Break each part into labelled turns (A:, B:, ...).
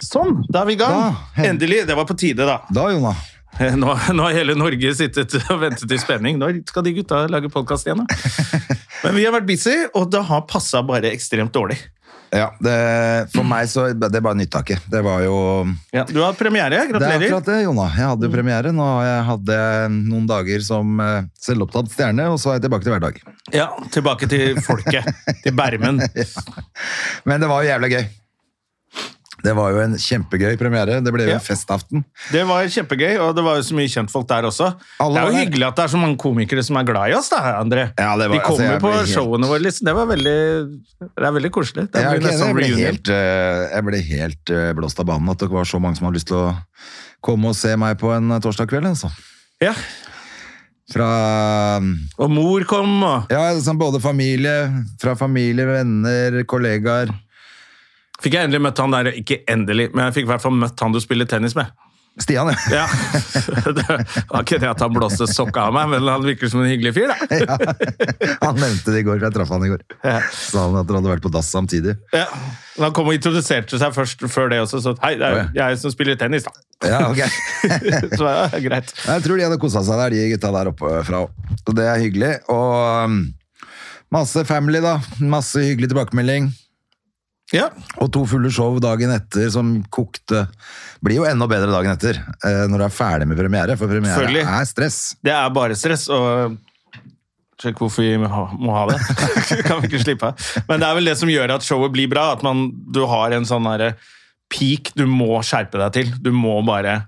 A: Sånn, da er vi i gang.
B: Da, hen-
A: Endelig. Det var på tide, da.
B: Da, Jona.
A: Nå, nå har hele Norge sittet og ventet i spenning. Når skal de gutta lage podkast igjen, da? Men vi har vært busy, og det har passa bare ekstremt dårlig.
B: Ja, det, for meg så Det bare nytta ikke. Det var jo
A: Ja, du har premiere.
B: Det er akkurat
A: Gratulerer. Mm.
B: det, Jona. Jeg hadde jo premiere. Nå har jeg hadde noen dager som eh, selvopptatt stjerne, og så er jeg tilbake til hverdag.
A: Ja, Tilbake til folket. Til bermen.
B: Men det var jo jævla gøy. Det var jo en kjempegøy premiere. Det ble jo
A: Ja.
B: en festaften.
A: Det var kjempegøy, og det var jo så mye kjentfolk der også.
B: Alle
A: det er jo
B: var der.
A: hyggelig at det er så mange komikere som er glad i oss, da, André.
B: Ja, det var-
A: De
B: altså,
A: kommer
B: jeg
A: på
B: ble helt-
A: showene våre, liksom. Det var veldig Det er veldig koselig.
B: Jeg,
A: Det blir
B: er ikke
A: nesten
B: enig, jeg ble
A: reunion.
B: helt, eh, jeg ble helt eh, blåst av banen at det var så mange som hadde lyst til å komme og se meg på en torsdag kveld. Altså.
A: Ja.
B: Fra
A: Og mor kom, og
B: Ja, sånn både familie, fra familie, venner, kollegaer.
A: Fikk jeg endelig møtt han der Ikke endelig, men jeg fikk i hvert fall møtt han du spiller tennis med.
B: Stian, ja.
A: Ja. Det var ikke det at han blåste sokka av meg, men han virker som en hyggelig fyr, da.
B: ja. Han nevnte det i går, for jeg traff han i går.
A: Ja.
B: Sa han at dere hadde vært på dass samtidig.
A: Ja. Men Han kom og introduserte seg først før det også, så hei, det er jo jeg som spiller tennis, da.
B: Ja, ok.
A: Så ja, greit.
B: Jeg tror de hadde kosa seg der, de gutta der oppe fra. Så det er hyggelig. Og um, masse family, da. Masse hyggelig tilbakemelding.
A: Ja.
B: Og to fulle show dagen etter som kokte. Blir jo enda bedre dagen etter, eh, når du er ferdig med premiere, for premiere
A: Selvfølgelig.
B: er stress.
A: Det er bare stress, og Sjekk hvorfor vi ha- må ha det. kan vi ikke slippe av. Men det er vel det som gjør at showet blir bra, at man, du har en sånn derre peak du må skjerpe deg til. Du må bare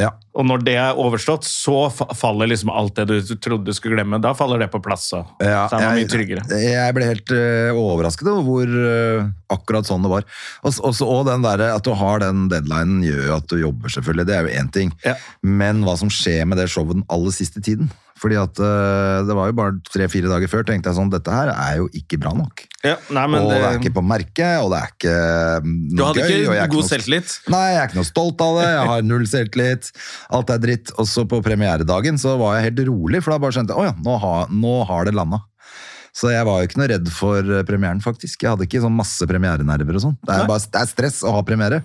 B: Ja.
A: Og når det er overstått, så fa- faller liksom alt det du trodde du skulle glemme. Da faller det på plass, og
B: Ja,
A: så er man
B: jeg-
A: mye tryggere.
B: Jeg ble helt eh, overrasket over hvor eh, akkurat sånn det var. Og, s- også, og den der, at du har den deadlinen gjør jo at du jobber, selvfølgelig. Det er jo én ting.
A: Ja.
B: Men hva som skjer med det showet den aller siste tiden? Fordi at eh, det var jo bare tre-fire dager før tenkte jeg sånn Dette her er jo ikke bra nok.
A: Ja, nei, men
B: og det... er
A: det,
B: ikke på merket, og det er ikke mm,
A: du hadde
B: gøy. og jeg er
A: ikke god
B: noe-
A: selvtillit.
B: Nei, jeg er ikke noe stolt av det. Jeg har null selvtillit. Alt er dritt. Og så på premieredagen så var jeg helt rolig, for da bare skjønte jeg at nå, har- nå har det landa. Så jeg var jo ikke noe redd for eh, premieren, faktisk. Jeg hadde ikke sånn masse premierenerver og sånn. Det, er
A: Nei.
B: bare- det er stress å ha premiere,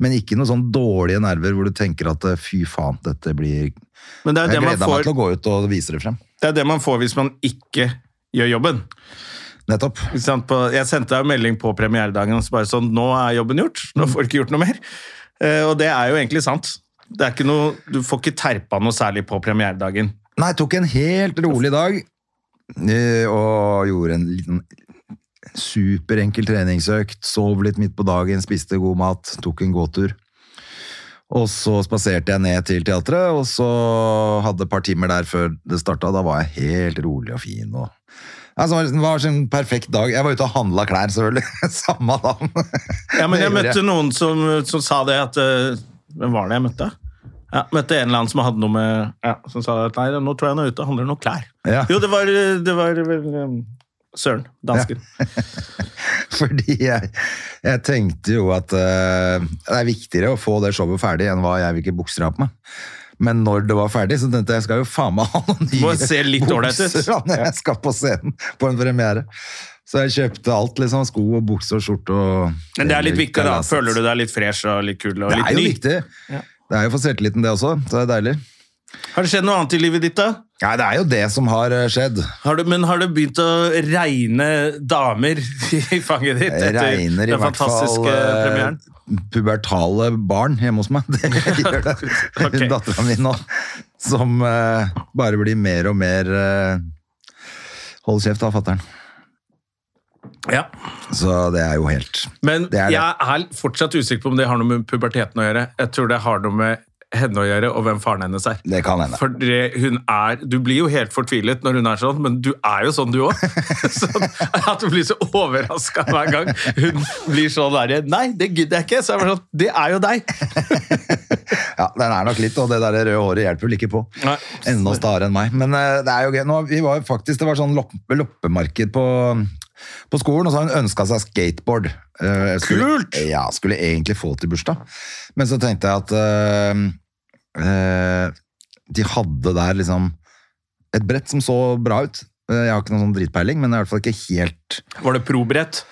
B: men ikke noen sånn dårlige nerver hvor du tenker at eh, fy faen, dette blir
A: Men det er
B: Jeg
A: det man
B: gleda meg til
A: får,
B: å gå ut og vise det frem.
A: det er det man får hvis man ikke gjør jobben.
B: Nettopp.
A: Ikke sant? På, jeg sendte deg en melding på premieredagen og så bare sånn Nå er jobben gjort. Nå får du ikke gjort noe mer. Eh, og det er jo egentlig sant. Det er ikke noe, du får ikke terpa noe særlig på premieredagen.
B: Nei, jeg tok en helt rolig dag eh, og gjorde en liten superenkel treningsøkt. Sov litt midt på dagen, spiste god mat, tok en gåtur. Og så spaserte jeg ned til teatret, og så hadde et par timer der før det starta. Da var jeg helt rolig og fin. og altså, Det var en sånn perfekt dag. Jeg var ute og handla klær, selvfølgelig. Samme dagen.
A: Ja, men
B: Det
A: jeg
B: gjorde
A: møtte
B: jeg.
A: noen som, som sa det at eh, Hvem var det jeg møtte? Ja, møtte en eller annen som hadde noe med ja, Som sa at nei, nå tror jeg han er ute og handler noe klær.
B: Ja.
A: Jo, det var, det var vel eh, Søren. Dansken.
B: Fordi jeg, jeg tenkte jo at eh, det er viktigere å få det showet ferdig enn hva jeg hvilke bukser jeg har på meg. Men når det var ferdig, så tenkte jeg jeg skal jo faen meg ha noen nye
A: Må se litt ålreit ut.
B: bukser da, når jeg skal på scenen på en premiere. Så jeg kjøpte alt, liksom. Sko og bukse og skjorte og
A: Men det er litt viktig, da. Føler du deg litt fresh og litt kul og
B: Det
A: litt
B: er jo
A: ny?
B: viktig. Det er jo for selvtilliten, det også. Så det er deilig.
A: Har det skjedd noe annet i livet ditt, da?
B: Nei, det er jo det som har eh, skjedd.
A: Har du, men har det begynt å regne damer i fanget ditt?
B: Det
A: etter
B: regner i
A: den
B: hvert fall
A: fantastiske
B: eh,
A: premieren?
B: pubertale barn hjemme hos meg. Det gjør det.
A: Ok.
B: Dattera mi nå, som eh, bare blir mer og mer eh, Hold kjeft, da, fatter'n.
A: Ja.
B: Så det er jo helt
A: Men
B: Det er det.
A: jeg er fortsatt usikker på om det har noe med puberteten å gjøre. Jeg tror det har noe med henne å gjøre, og hvem faren hennes er.
B: Det kan hende.
A: For det- hun er, Du blir jo helt fortvilet når hun er sånn, men du er jo sånn, du òg. Sånn, at du blir så overraska hver gang hun blir sånn derre Nei, det gidder jeg ikke! Så jeg bare sånn, Det er jo deg!
B: Ja, den er nok litt, og det der røde håret hjelper vel ikke på.
A: Nei.
B: Enda stare enn meg. Men eh, det er jo gøy. Nå, vi var jo faktisk, det var sånn loppe, loppemarked på, på skolen, og så har hun ønska seg skateboard. Eh, skulle,
A: Kult!
B: Ja, skulle egentlig få til bursdag. Men så tenkte jeg at eh, eh, de hadde der liksom et brett som så bra ut. Eh, Jeg har ikke noen sånn dritpeiling, men det er i hvert fall ikke helt
A: Var det probrett?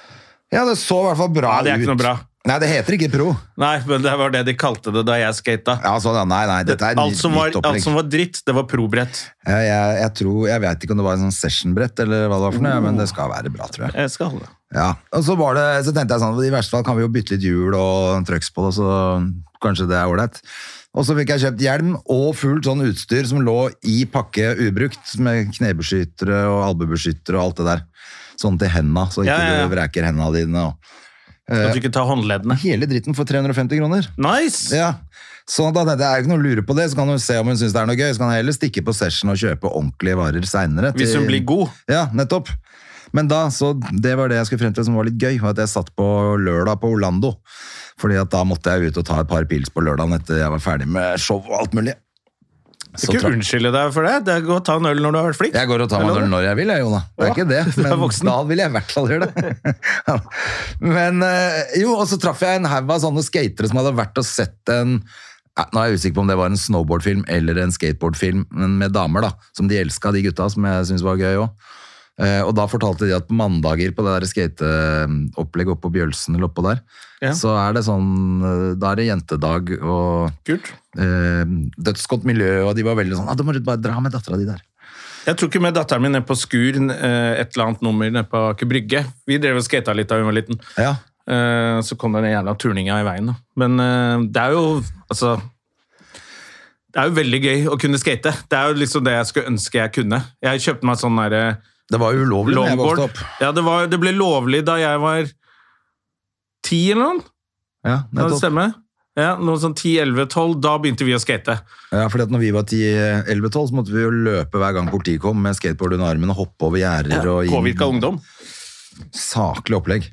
B: Ja, det så i hvert fall bra
A: Ja, det er
B: ut.
A: ikke noe bra.
B: Nei, det heter ikke pro.
A: Nei, men det var det de kalte det da jeg skata.
B: Ja, sånn, ja, nei, nei, dette er
A: alt, som var,
B: nytt opplegg.
A: alt som var dritt, det var probrett.
B: Ja, jeg, jeg tror, jeg vet ikke om det var en sånn sessionbrett eller hva det var for noe, ja, men det skal være bra, tror jeg.
A: Jeg skal holde.
B: Ja, og så var det, så tenkte jeg sånn, i verste fall kan vi jo bytte litt hjul og trøks på det, så kanskje det er ordentlig. Og så fikk jeg kjøpt hjelm og fullt sånn utstyr som lå i pakke ubrukt, med knebeskyttere og albebeskyttere og alt det der. Sånn til hendene, så ikke
A: Ja, ja, ja.
B: du vreker hendene dine. Og.
A: At du ikke tar håndleddene.
B: Hele dritten for 350 kroner.
A: Nice!
B: Eh, Ja. Så da tenkte jeg, er det ikke noe å lure på det, så kan hun se om hun synes det er noe gøy, så kan jeg heller stikke på session og kjøpe ordentlige varer senere.
A: Hvis hun blir god.
B: Ja, nettopp. Men da, så det var det jeg skulle frem til som var litt gøy, var at jeg satt på lørdag på Orlando. Fordi at da måtte jeg ut og ta et par pils på lørdagen etter jeg var ferdig med show og alt mulig. Så
A: Ikke
B: trakk-
A: unnskylde deg for det. Det er godt å ta en øl når du har vært flink.
B: jeg går og tar meg en øl når jeg vil, jeg, Jona. Det er
A: Ja,
B: ikke det,
A: du er
B: men
A: voksen.
B: da vil jeg i hvert fall gjøre det. Ja. men eh, jo, og så traff jeg en haug av sånne skatere som hadde vært og sett en ja, nå er jeg usikker på om det var en snowboardfilm eller en skateboardfilm, men med damer, da. Som de elska, de gutta, som jeg syntes var gøy òg. og da fortalte de at på mandager på det der skateopplegget oppe på Bjølsen eller oppå der,
A: Ja.
B: så er det sånn eh, Da er det jentedag og
A: Kult.
B: eh, dødsgodt miljø, og de var veldig sånn ah, Da må du bare dra med dattera di der.
A: Jeg tok jo med datteren min ned på Skur, eh, et eller annet nummer nede på Aker Brygge. Vi drev og skata litt da hun var liten.
B: Ja,
A: Eh, Så kom den jævla turninga i veien. da. Men eh, det er jo altså Det er jo veldig gøy å kunne skate. Det er jo liksom det jeg skulle ønske jeg kunne. Jeg kjøpte meg sånn derre
B: Det var jo ulovlig da jeg vokste
A: longboard.
B: opp.
A: Ja, det, var, det ble lovlig da jeg var ti eller noe.
B: Ja,
A: Kan det
B: nettopp.
A: stemme? Ja, noe sånn 10-11-12, da begynte vi å skate.
B: Ja, fordi at når vi var 10-11-12, så måtte vi jo løpe hver gang politiet kom med skateboard under armen og hoppe over gjerder og
A: Påvirka ungdom.
B: saklig opplegg.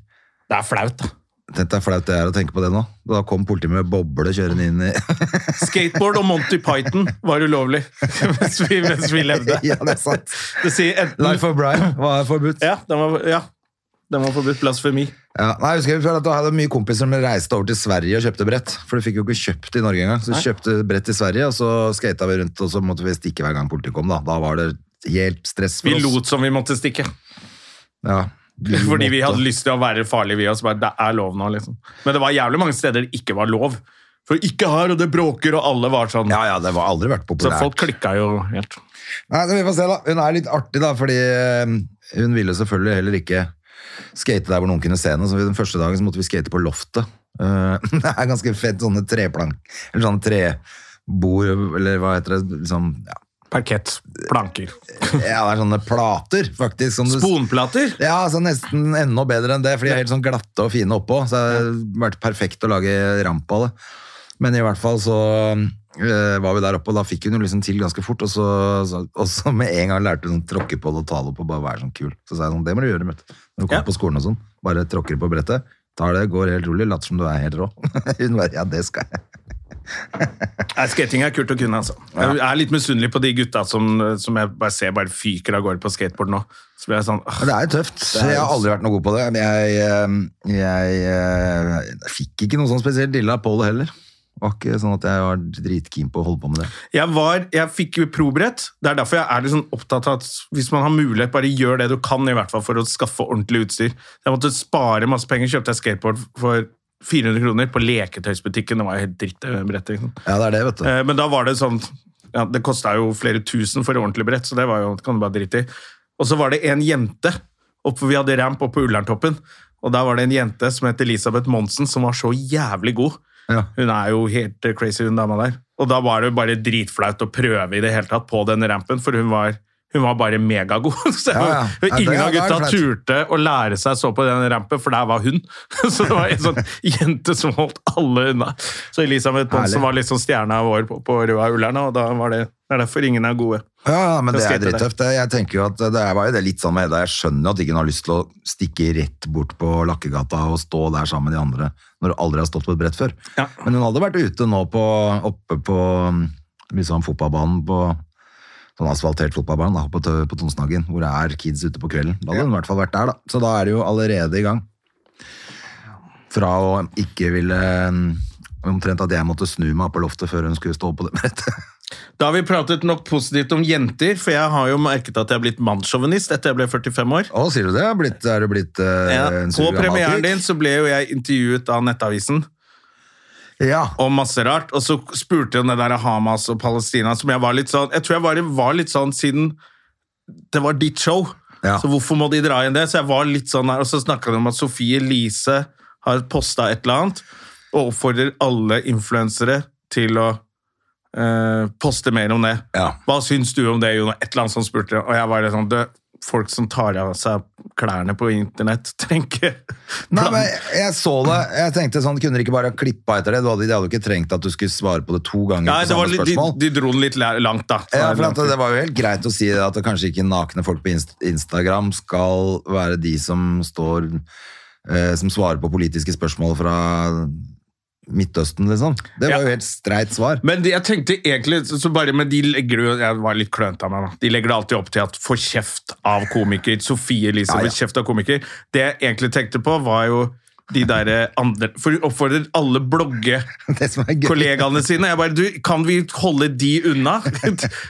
A: Det er flaut, da.
B: Tenk deg flaut det er å tenke på det nå. Da kom politiet med boble kjørende inn i
A: Skateboard og Monty Python var ulovlig mens vi, mens vi levde.
B: Ja, det er sant.
A: Det sier enten
B: Life of Brian var forbudt.
A: Ja, den var, ja, den var forbudt blasfemi.
B: Ja, nei, jeg husker jeg at Jeg hadde mye kompiser som reiste over til Sverige og kjøpte brett. For du fikk jo ikke kjøpt det i Norge engang. Så kjøpte brett i Sverige, og så skata vi rundt, og så måtte vi stikke hver gang politiet kom. Da Da var det helt stress for
A: Vi
B: oss.
A: lot som vi måtte stikke.
B: Ja,
A: Fordi vi
B: måtte.
A: hadde lyst til å være farlige, vi også. Bare, det er lov nå, liksom. Men det var jævlig mange steder det ikke var lov. For ikke her, og det bråker, og alle var sånn.
B: Ja, ja, det har aldri vært
A: Så
B: populært.
A: folk klikka jo helt.
B: Nei, så vi får se da. Hun er litt artig da, fordi eh, hun ville selvfølgelig heller ikke skate der hvor noen kunne se henne, så den første dagen så måtte vi skate på loftet. Eh, det er ganske fett, sånne treplank, eller sånne trebord, eller hva heter det, liksom, ja.
A: Parkett. Planker.
B: ja, det er sånne plater, faktisk. som du-
A: Sponplater.
B: Ja, altså nesten enda bedre enn det, for de er helt sånn glatte og fine oppå. Så det har vært perfekt å lage ramp av det. Men i hvert fall så øh, var vi der oppe, og da fikk hun jo liksom til ganske fort. Og så, så, og så med en gang lærte hun å tråkke på det og ta det opp og bare være sånn kul. Så sa jeg sånn, det må du gjøre, vet du. Når du kommer
A: Ja.
B: på skolen og sånn, bare tråkker på brettet. Tar det, går helt rolig, later som du er helt rå. hun bare, ja, det skal jeg.
A: Nei, skating er kult å kunne, altså. Jeg er litt misunnelig på de gutta som, som jeg bare ser bare fyker av gårde på skateboard nå. Så blir jeg sånn «Åh,
B: Men Det er jo tøft.
A: er-
B: Jeg har aldri vært noe god på det. Men jeg, eh, jeg, eh, fikk ikke noe sånn spesielt dilla på det heller. Det var ikke sånn at jeg var dritkeen på å holde på med det.
A: Jeg, var, jeg fikk jo probrett. Det er derfor jeg er litt sånn opptatt av at hvis man har mulighet, bare gjør det du kan i hvert fall for å skaffe ordentlig utstyr. Jeg måtte spare masse penger, kjøpte jeg skateboard for 400 kroner på leketøysbutikken. Det var jo helt dritt eh, brett. Liksom.
B: Ja, det er det, vet du.
A: Eh, Men da var det sånn ja, Det kosta jo flere tusen for et ordentlig brett, så det var jo, det kan du bare drite i. Og så var det en jente oppe, Vi hadde ramp oppe på Ullerntoppen, og der var det en jente som het Elisabeth Monsen, som var så jævlig god.
B: Ja.
A: Hun er jo helt eh, crazy, hun dama der. Og da var det jo bare dritflaut å prøve i det hele tatt på den rampen, for hun var Hun var bare megagod. Så
B: Ja, ja.
A: og
B: Ja, det- ja,
A: Ingen av
B: det er
A: gutta
B: flaut.
A: turte å lære seg å stå på den rampen, for der var hun. Så det var en sånn jente som holdt alle unna. Så Elisabeth Bonsen
B: Herlig.
A: var liksom stjerna vår på, på Røa Ullern, og da var det, det er derfor ingen er gode.
B: Ja, ja, men
A: Da
B: det er
A: skrev jeg det.
B: drittøft. Det- Jeg tenker jo at det er- var jo det litt sånn med Hedda. Jeg skjønner jo at ikke hun har lyst til å stikke rett bort på Lakkegata og stå der sammen med de andre når hun aldri har stått på et brett før.
A: Ja.
B: Men hun hadde vært ute nå på, oppe på mm, liksom fotballbanen på sånn asfaltert fotballbane da, på, Tø- på Tonsenhagen, hvor det er kids ute på kvelden. Da hadde hun i hvert fall vært der, da. Så da er det jo allerede i gang. Fra å ikke ville mm, Omtrent at jeg måtte snu meg på loftet før hun skulle stå på det brettet.
A: Da har vi pratet nok positivt om jenter, for jeg har jo merket at jeg er blitt mannssjåvinist etter jeg ble 45 år.
B: Å, sier du det? Er du blitt, er du blitt eh,
A: Ja.
B: en
A: På
B: surrogatkuk?
A: premieren din så ble jo jeg intervjuet av Nettavisen
B: Ja.
A: om masse rart, og så spurte hun det der Hamas og Palestina, som jeg var litt sånn Jeg tror jeg bare var litt sånn siden det var ditt show,
B: Ja.
A: så hvorfor må de dra igjen det? Så jeg var litt sånn her, og så snakka de om at Sofie Elise har posta et eller annet, og oppfordrer alle influensere til å eh, poste mer om det.
B: Ja.
A: Hva syns du om det, Jon? Et eller annet som spurte. Og jeg var litt sånn «Du, Folk som tar av seg klærne på internett, trenger ikke
B: Nei, men jeg så det. Jeg tenkte sånn, kunne de ikke bare klippa etter det? Du hadde, de hadde jo ikke trengt at du skulle svare på det to ganger
A: Nei,
B: på
A: det var
B: samme
A: litt, de,
B: spørsmål.
A: de dro den litt la- langt, da.
B: ja, for at det var jo helt greit å si det at det kanskje ikke nakne folk på Inst- Instagram skal være de som står eh, Som svarer på politiske spørsmål fra Midtøsten, liksom. Det var
A: Ja.
B: jo helt streit svar.
A: Men de, jeg tenkte egentlig så så bare, men de legger jo Jeg var litt klønt av meg, da. De legger det alltid opp til at få kjeft av komiker. Sofie Elise
B: Ja, ja.
A: får kjeft av komiker. Det jeg egentlig tenkte på, var jo de derre andre For hun oppfordrer alle bloggekollegaene
B: Det som er gøy.
A: sine. Jeg bare du, Kan vi holde de unna?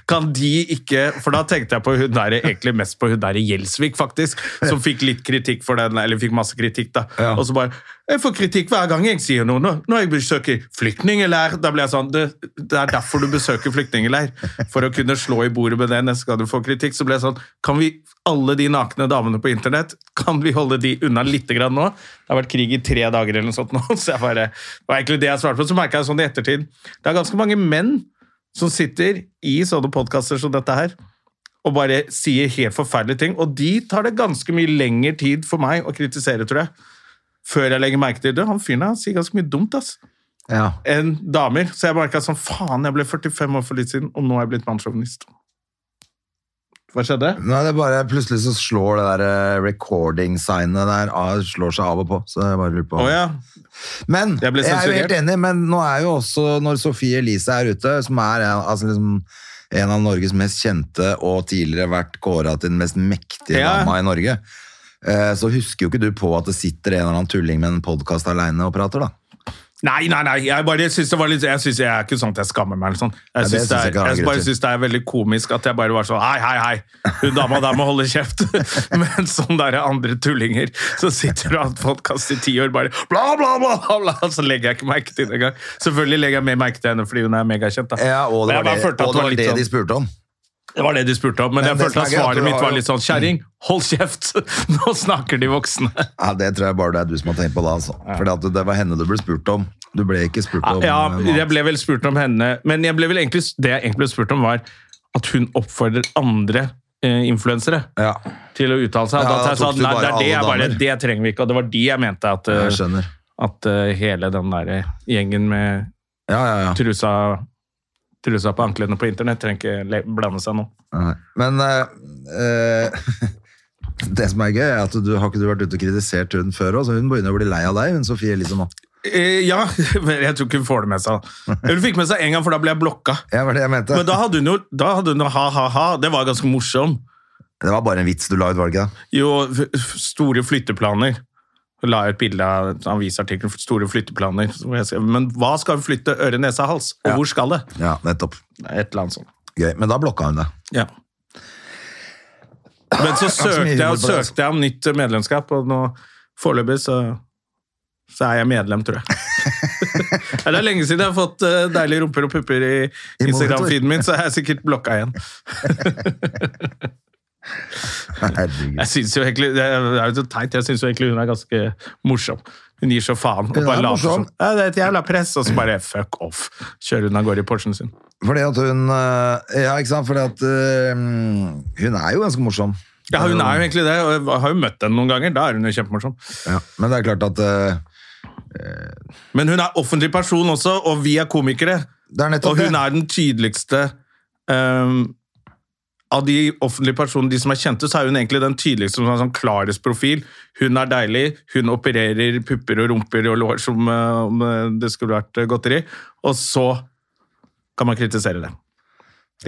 A: Kan de ikke For da tenkte jeg på hun der, egentlig mest på hun der i Gjelsvik, faktisk. Som fikk litt kritikk for den, eller fikk masse kritikk, da.
B: Ja.
A: Og så bare Jeg får kritikk hver gang jeg sier noe. Nå- Når jeg besøker flyktningleir, da blir jeg sånn det, det er derfor du besøker flyktningleir. For å kunne slå i bordet med det neste gang du får kritikk. Så ble jeg sånn Kan vi, alle de nakne damene på internett, kan vi holde de unna lite grann nå? Det har vært krig i tre dager eller noe sånt nå. Så jeg bare, det var egentlig det jeg svarte på. Så merka jeg sånn i ettertid Det er ganske mange menn som sitter i sånne podkaster som dette her og bare sier helt forferdelige ting. Og de tar det ganske mye lengre tid for meg å kritisere, tror jeg. Før jeg legger merke til det. Han fyren her sier ganske mye dumt, ass.
B: Ja.
A: Enn damer. Så jeg merka sånn Faen, jeg ble 45 år for litt siden, og nå er jeg blitt mannssjåvinist. Hva skjedde?
B: Nei, det er bare Plutselig så slår det der eh, recording-signet der av, slår seg av og på. Så jeg bare lurer på
A: Å ja.
B: Men jeg,
A: Jeg ble
B: er jo helt
A: sensurert.
B: enig, men nå er jo også når Sofie Elise er ute, som er en, altså liksom, en av Norges mest kjente og tidligere vært kåra til den mest mektige
A: Ja.
B: dama i Norge, eh, så husker jo ikke du på at det sitter en eller annen tulling med en podkast aleine og prater, da.
A: Nei, nei, nei. Jeg bare synes det var litt Jeg, synes, jeg er ikke sånn at jeg skammer meg. eller sånn.
B: Nei,
A: Jeg,
B: det
A: synes det
B: synes jeg
A: er,
B: ikke han har
A: jeg bare
B: grunn til.
A: synes det er veldig komisk at jeg bare var sånn Hei, hei, hei! Hun dama der må holde kjeft! Men sånn der andre tullinger som sitter og har hatt podkast i ti år, bare bla, bla, bla, bla, bla, Så legger jeg ikke merke til det engang. Selvfølgelig legger jeg mer merke til henne fordi hun er megakjent. da.
B: Ja, og
A: Men
B: det
A: jeg
B: var det,
A: bare følte at
B: og det, var
A: litt
B: det
A: sånn-
B: de spurte om.
A: det var det de spurte om, men,
B: Men
A: jeg
B: det
A: følte at
B: som er gøy er at
A: svaret
B: du
A: mitt
B: har
A: var
B: jo-
A: litt sånn Kjerring, hold kjeft! Nå snakker de voksne.
B: Ja, det tror jeg bare det er du som har tenkt på det, altså. For det var henne du ble spurt om. Du ble ikke spurt om
A: Ah, Ja,
B: eh, noe
A: jeg
B: annet.
A: ble vel spurt om henne, men jeg ble vel egentlig, det jeg egentlig ble spurt om var at hun oppfordrer andre eh, influensere
B: ja.
A: til å uttale seg. og
B: Ja,
A: da
B: da
A: sa jeg
B: tok
A: sånn,
B: du
A: nei,
B: bare
A: det er det jeg
B: alle
A: bare,
B: damer.
A: det trenger vi ikke, og det var de jeg mente at, eh,
B: Jeg skjønner.
A: at eh, hele den der gjengen med
B: Ja, ja, ja.
A: trusa, trusa på anklene på internett trenger ikke le- blande seg nå.
B: Nei. Men eh, eh, det som er gøy, er at du har ikke du vært ute og kritisert hun før òg, så hun begynner å bli lei av deg, hun Sofie Elise nå.
A: Eh, ja, men jeg tror ikke hun får det med seg. Hun fikk med seg en gang, for da ble jeg blokka.
B: Ja, det var det jeg mente.
A: Men da hadde hun jo, da hadde hun jo ha-ha-ha, det var ganske morsom.
B: Det var bare en vits du la ut, var det ikke det?
A: Jo, f- f- store flytteplaner. Så la jeg et bilde av en avisartikkel for store flytteplaner. hvor jeg skrev, Men hva skal vi flytte? Øre, nese, hals? Og hvor skal det?
B: Ja, nettopp.
A: Et eller annet sånt.
B: Gøy. Men da blokka hun det.
A: Ja. Men så
B: mye
A: søkte jeg,
B: humor på det, altså.
A: søkte jeg om nytt medlemskap, og nå foreløpig så, så er jeg medlem, tror jeg. Ja, det er lenge siden jeg har fått eh, deilige rumper og pupper i
B: I monitor.
A: Instagram-feeden min, så er jeg sikkert blokka igjen.
B: Herregud.
A: Jeg synes jo egentlig, det er jo så teit, jeg synes jo egentlig hun er ganske morsom. Hun gir så faen. og
B: Hun er
A: bare later
B: morsom.
A: som, Ja, det er et jævla press, og så bare fuck off. Kjører hun av gårde i Porschen sin.
B: Fordi at hun eh, Ja, ikke sant? Fordi at eh, hun er jo ganske morsom.
A: Ja, hun er jo egentlig det, og jeg har jo møtt henne noen ganger. Da er hun jo kjempemorsom.
B: Ja. Men det er klart at eh,
A: Men hun er offentlig person også, og vi er komikere.
B: Det er nettopp
A: Og hun
B: det.
A: er den tydeligste ehm, Av de offentlige personene, de som er kjente, så er hun egentlig den tydeligste som har sånn klarest profil. Hun er deilig, hun opererer pupper og rumper og lår som eh, om eh, det skulle vært eh, godteri. Og så kan man kritisere det.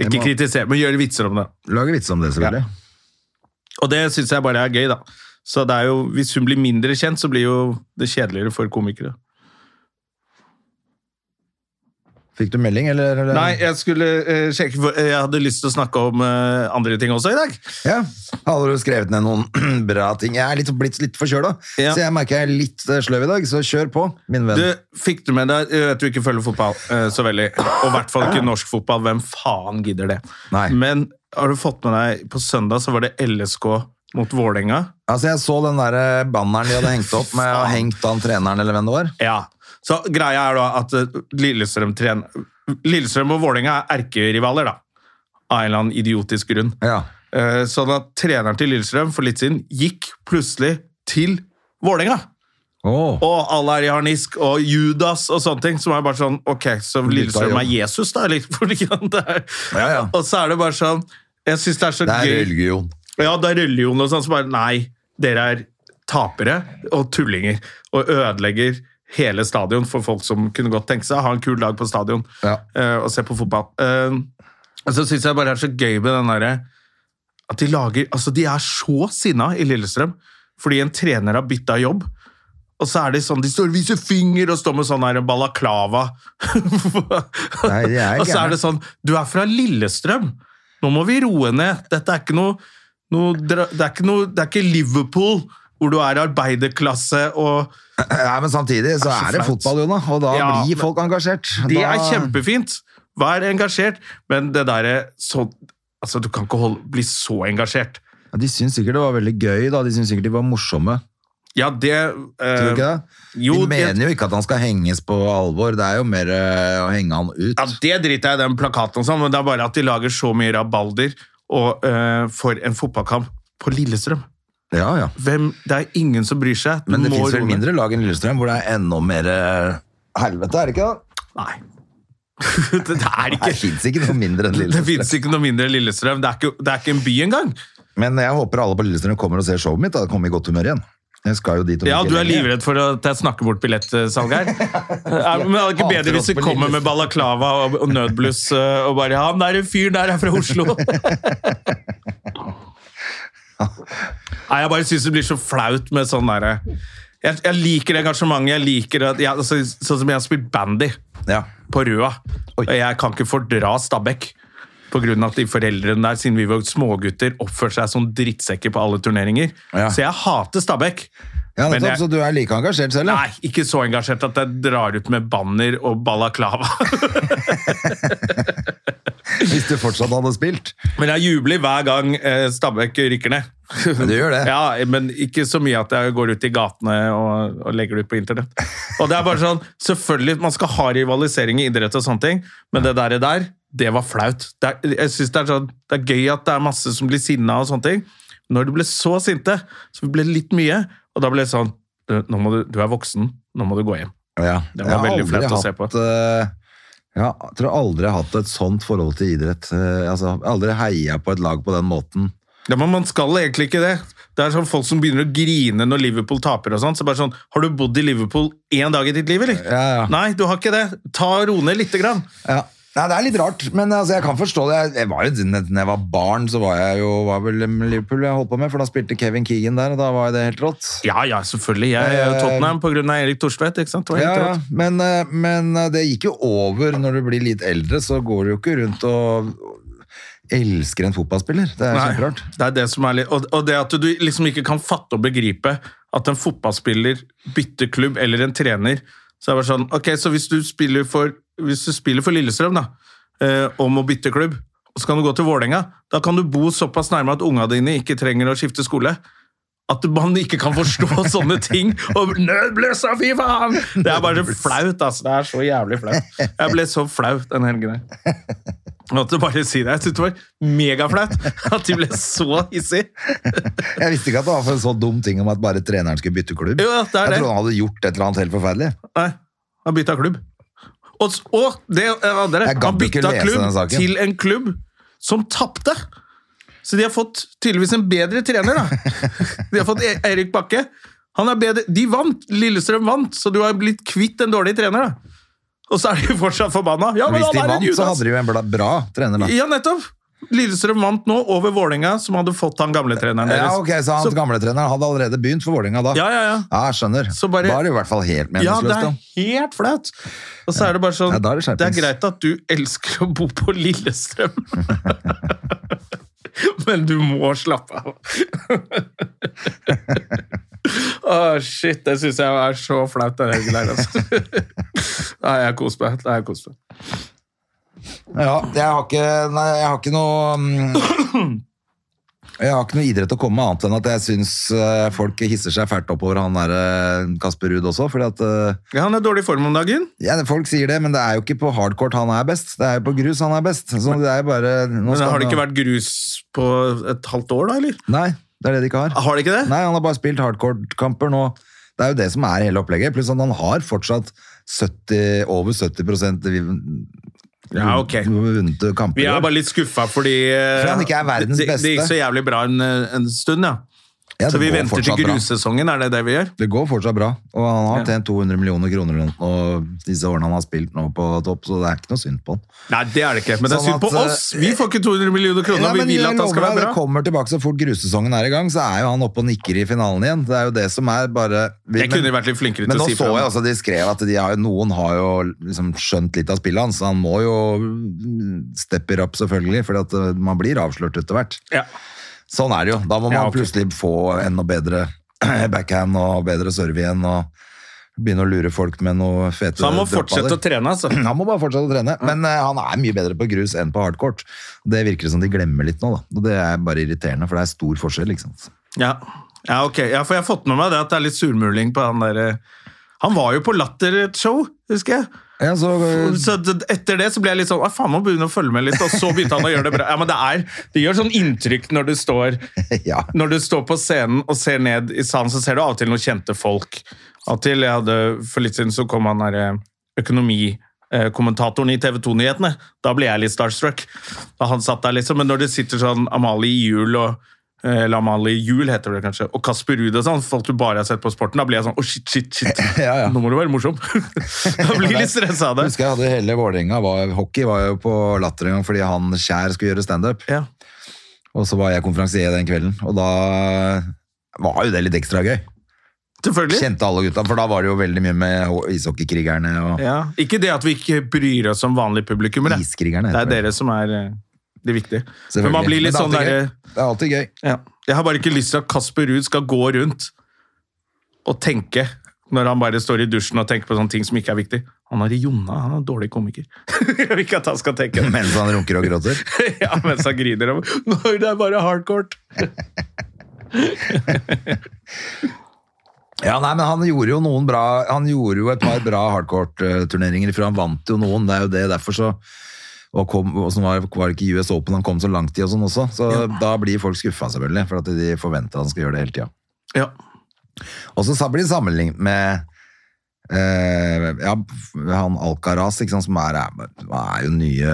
A: Ikke
B: må-
A: kritisere, men gjøre vitser om det.
B: Lager vitser om det, selvfølgelig.
A: Og det syns jeg bare er gøy, da. Så det er jo, hvis hun blir mindre kjent, så blir jo det kjedeligere for komikere.
B: Fikk du melding, eller? eller?
A: Nei, jeg skulle eh, sjekke for, Jeg hadde lyst til å snakke om eh, andre ting også i dag.
B: Ja. Hadde du skrevet ned noen bra ting? Jeg er litt, blitt litt forkjøla,
A: Ja.
B: så jeg merker jeg er litt eh, sløv i dag, så kjør på, min venn.
A: Du, fikk du med deg Jeg vet du ikke følger fotball eh, så veldig, og i hvert fall ikke norsk fotball. Hvem faen gidder det?
B: Nei.
A: Men har du fått med deg På søndag så var det LSK mot Vålerenga.
B: Altså, jeg så den der eh, banneren de hadde hengt opp med å ha hengt an treneren, eller hvem det var.
A: Ja. Så greia er da at eh, Lillestrøm, tren- Lillestrøm og Vålerenga er erkerivaler, da. Av en eller annen idiotisk grunn.
B: Ja.
A: Eh, Sånn at treneren til Lillestrøm for litt siden gikk plutselig til Vålerenga.
B: Åh.
A: Og alle er i harnisk, og Judas og sånne ting. Som er bare sånn Ok, så Lillestrøm er Jesus, da? Eller hvordan det er.
B: Ja, ja.
A: Og så er det bare sånn Jeg syns det er så
B: Det er
A: gøy.
B: religion.
A: Ja, det er religion og sånn. Så bare Nei, dere er tapere og tullinger. Og ødelegger hele stadion for folk som kunne godt tenke seg å ha en kul dag på stadion
B: Ja.
A: eh, og se på fotball. Eh, og så syns jeg bare det er så gøy med den derre At de lager Altså, de er så sinna i Lillestrøm fordi en trener har bytta jobb. Og så er de sånn, de står og viser finger og står med sånn her balaklava.
B: Nei, de er
A: og så
B: gærne.
A: er det sånn Du er fra Lillestrøm! Nå må vi roe ned. Dette er ikke noe, noe, dra- det, er ikke noe det er ikke Liverpool, hvor du er arbeiderklasse og
B: Nei, men samtidig så
A: så
B: er det
A: flaut.
B: fotball, Jonah, og da
A: Ja,
B: blir
A: men-
B: folk engasjert.
A: Det
B: da...
A: er kjempefint! Vær engasjert. Men det derre så Altså, du kan ikke holde, bli så engasjert.
B: Ja, De syns sikkert det var veldig gøy, da. De syns sikkert de var morsomme.
A: Ja, det eh,
B: Tror du ikke det?
A: jo,
B: de
A: det-
B: mener jo ikke at han skal henges på alvor. Det er jo mer eh, å henge han ut.
A: Ja, det driter jeg i den plakaten og sånn, men det er bare at de lager så mye rabalder og, eh, for en fotballkamp på Lillestrøm.
B: Ja, ja.
A: Hvem, det er ingen som bryr seg. Du
B: Men det
A: må
B: fins vel
A: roe ned.
B: mindre lag enn Lillestrøm hvor det er enda mer eh, helvete, er det ikke det?
A: Nei. det er
B: Det
A: ikke
B: fins ikke noe mindre enn
A: Det
B: Lillestrøm.
A: fins ikke noe mindre enn Lillestrøm. Det er ikke, det er ikke en by engang.
B: Men jeg håper alle på Lillestrøm kommer og ser showet mitt. Da kommer vi i godt humør igjen. Jeg skal jo dit om
A: Ja,
B: ikke
A: du er
B: lenge.
A: livredd for at jeg snakker bort billettsalg her. Ja, Men det er ikke
B: Hater
A: bedre hvis
B: oss
A: de
B: på
A: kommer med
B: Lillestrøm.
A: balaklava og og nødbluss eh, og bare 'Han der fyren der er fra Oslo'. Nei, jeg bare syns det blir så flaut med sånn derre jeg, jeg liker engasjementet. jeg liker at, jeg, altså, Sånn som jeg har spilt bandy
B: Ja.
A: på Røa.
B: Oi.
A: Og jeg kan ikke fordra Stabæk. På grunn av at de foreldrene der, siden vi var smågutter, oppførte seg som drittsekker på alle turneringer.
B: Ja.
A: Så jeg hater Stabæk.
B: Ja,
A: Men
B: nettopp,
A: jeg-
B: Så du er like engasjert selv, ja?
A: Nei, ikke så engasjert at jeg drar ut med banner og balaklava.
B: Hvis du fortsatt hadde spilt.
A: Men jeg jubler hver gang eh, Stabæk rykker ned.
B: Men du gjør det.
A: Ja, men ikke så mye at jeg går ut i gatene og, og legger det ut på internett. Og det er bare sånn, selvfølgelig, man skal ha rivalisering i idrett og sånne ting, men det der, der det var flaut. Det er, jeg synes det er, sånn, det er gøy at det er masse som blir sinna og sånne ting. Når du ble så sinte, så ble det litt mye, og da ble det sånn, du, nå må du, du er voksen, nå må du gå hjem.
B: Ja.
A: Det var veldig flaut å se på.
B: eh, ja, jeg tror aldri jeg har hatt et sånt forhold til idrett. Eh, altså, jeg har aldri heia på et lag på den måten.
A: Ja, men man skal egentlig ikke det. Det er sånn folk som begynner å grine når Liverpool taper og sånn, så bare sånn, har du bodd i Liverpool én dag i ditt liv, eller?
B: Ja, ja.
A: Nei, du har ikke det. Ta ro ned lite grann.
B: Ja. Nei, det er litt rart, men altså, jeg kan forstå det. Jeg, jeg var jo, når jeg var barn, så var jeg jo var vel med Liverpool jeg holdt på med, for da spilte Kevin Keegan der, og da var jo det helt rått.
A: Ja, ja, selvfølgelig. Jeg er jo Tottenham på grunn av Erik Thorstvedt, ikke sant? Det var
B: Eh, Ja,
A: helt
B: ja.
A: rått.
B: Men, eh, men eh, det gikk jo over når du blir litt eldre, så går du jo ikke rundt og elsker en fotballspiller. Det er
A: Nei,
B: kjemperart.
A: det er det som er litt... Og, og det at du liksom ikke kan fatte og begripe at en fotballspiller bytter klubb eller en trener, så er det bare sånn, ok, så hvis du spiller for, hvis du spiller for Lillestrøm da, eh, om å bytte klubb, og så kan du gå til Vålinga, da kan du bo såpass nærme at unga dine ikke trenger å skifte skole. At man ikke kan forstå sånne ting. Og nødbløssa, fy faen! Det er bare så flaut, altså. Det er så jævlig flaut. Jeg ble så flau den helgen her. Jeg måtte bare si det. Jeg syntes det var megaflaut at de ble så hissige.
B: Jeg visste ikke at det var for en så dum ting om at bare treneren skulle bytte klubb.
A: Jo, det
B: jeg
A: er det.
B: trodde han hadde gjort et eller annet helt forferdelig.
A: Nei, han bytta klubb. Og, s- og det andre
B: Jeg gadd
A: Han
B: ikke
A: bytta
B: lese den
A: klubb
B: saken.
A: til en klubb som tapte! Så de har fått tydeligvis en bedre trener, da. De har fått E- Erik Bakke. Han er bedre. De vant! Lillestrøm vant, så du har blitt kvitt en dårlig trener, da. Og så er de fortsatt forbanna. Ja, men
B: Hvis
A: han
B: de
A: er en
B: vant, så
A: Judas!
B: hadde de jo en bla- bra trener, da.
A: Ja, nettopp! Lillestrøm vant nå over Vålerenga, som hadde fått han gamle treneren deres.
B: Ja, ok, Så han gamle treneren hadde allerede begynt for Vålerenga da?
A: Ja, ja, ja.
B: jeg skjønner.
A: Så bare-
B: da er det i hvert fall helt
A: Ja,
B: meningsløst.
A: det er
B: da.
A: helt flaut. Og så er det bare sånn
B: Ja, da er det
A: Det er
B: skjerpings.
A: greit at du elsker å bo på Lillestrøm, men du må slappe av. Å, shit. Det syns jeg er så flaut, den helgen der, altså. Nei, jeg koser meg. Nei, jeg koser meg.
B: Ja, jeg har ikke, nei, jeg har ikke noe mm, Jeg har ikke noe idrett å komme med annet enn at jeg syns eh, folk hisser seg fælt oppover han der eh, Kasper Ruud også. fordi at eh,
A: Ja, han er i dårlig form om dagen.
B: ja, Folk sier det, men det er jo ikke på hardcourt han er best. Det er jo på grus han er best. Så det er jo bare nå
A: Men
B: skal
A: har det
B: han-
A: ikke vært grus på et halvt år, da, eller?
B: Nei, det er det de ikke har.
A: Har det ikke det?
B: Nei, han har bare spilt hardcourt-kamper nå. Det er jo det som er hele opplegget. Pluss at han har fortsatt 70, over 70 vun-
A: Ja, ok.
B: vunnet kamper.
A: Vi er bare litt skuffa fordi eh,
B: For han ikke er verdens
A: det, det gikk
B: beste.
A: så jævlig bra en, eh, en stund, ja.
B: Ja, det
A: så vi
B: går
A: venter til
B: fortsatt bra.
A: grussesongen, er det det vi gjør?
B: Det går fortsatt bra, og han har
A: Ja.
B: tjent 200 millioner kroner eller noe nå disse årene han har spilt nå på topp, så det er ikke noe synd på han.
A: Nei, det er det ikke. Men det er
B: Sånn
A: synd på
B: at, eh,
A: oss! Vi får ikke 200 millioner kroner,
B: Nei,
A: og vi
B: men
A: vil
B: jeg
A: at han
B: lover
A: skal
B: deg, Det
A: være bra.
B: kommer tilbake så fort grussesongen er i gang, så er jo han oppe og nikker i finalen igjen. Det er jo det som er bare
A: Jeg kunne vært litt flinkere
B: Men
A: til
B: nå
A: å si
B: så
A: fra.
B: jeg altså, de skrev at de har, noen har jo liksom skjønt litt av spillet hans, så han må jo stepper opp selvfølgelig, for at eh, man blir avslørt etter hvert.
A: Ja.
B: Sånn er det jo. Da må man
A: Ja, ok.
B: plutselig få enda bedre backhand og bedre serve igjen, og begynne å lure folk med noe fete
A: Så han må fortsette
B: dropballer.
A: å trene, altså.
B: Han må bare fortsette å trene, men eh, han er mye bedre på grus enn på hardcourt. Det virker som de glemmer litt nå, da. Og det er bare irriterende, for det er stor forskjell, ikke sant.
A: Ja, ja ok. Ja, for jeg har fått med meg det at det er litt surmuling på han derre Han var jo på Latter et show, husker jeg.
B: Ja, så, eh,
A: Så d- etter det så ble jeg litt sånn «Å, Faen, må begynne å følge med litt. Og så begynte han å gjøre det bra. Ja, men det er Det gjør sånn inntrykk når du står
B: ja.
A: Når du står på scenen og ser ned i salen, så ser du av og til noen kjente folk. Av og til, jeg hadde, For litt siden så kom han derre økonomikommentatoren i TV 2-nyhetene. Da ble jeg litt starstruck. Da han satt der liksom, Men når det sitter sånn Amalie Juel og eh, eller Amalie Juel heter det kanskje, og Kasper Ruud og sånn, folk du bare har sett på sporten, da blir jeg sånn Å, shit, shit, shit.
B: Ja, ja.
A: Nå må du være morsom. da blir jeg litt stressa av det.
B: Husker jeg hadde hele Vålerenga var, Hockey var jo på latter en gang fordi han Kjær skulle gjøre standup.
A: Ja.
B: Og så var jeg konferansier den kvelden, og da var jo det litt ekstra gøy.
A: Selvfølgelig.
B: Kjente alle gutta, for da var det jo veldig mye med ho- ishockeykrigerne og
A: Ja. Ikke det at vi ikke bryr oss om vanlige publikummere.
B: iskrigerne.
A: Det
B: heter
A: er
B: det.
A: dere som er eh, det viktige.
B: Selvfølgelig.
A: Men man blir litt
B: Men
A: sånn
B: det er
A: derre
B: alltid gøy. Det er alltid gøy.
A: ja. Jeg har bare ikke lyst til at Kasper Ruud skal gå rundt og tenke når han bare står i dusjen og tenker på sånne ting som ikke er viktig. Han er i Jonna, han er en dårlig komiker. Jeg vil ikke at han skal tenke det.
B: Mens han runker og gråter.
A: ja, mens han griner om Når det er bare hardcourt!
B: Ja, nei, men han gjorde jo noen bra Han gjorde jo et par bra hardcourt-turneringer, for han vant jo noen. Det er jo det, derfor så og kom, og så var, var det ikke US Open han kom så langt i og sånn også, så da blir folk skuffa selvfølgelig, for at de forventer at han skal gjøre det hele tida.
A: Ja.
B: Og så sa- blir det sammenlignet med eh, ja, han Alcaraz, ikke sant, som er, er jo nye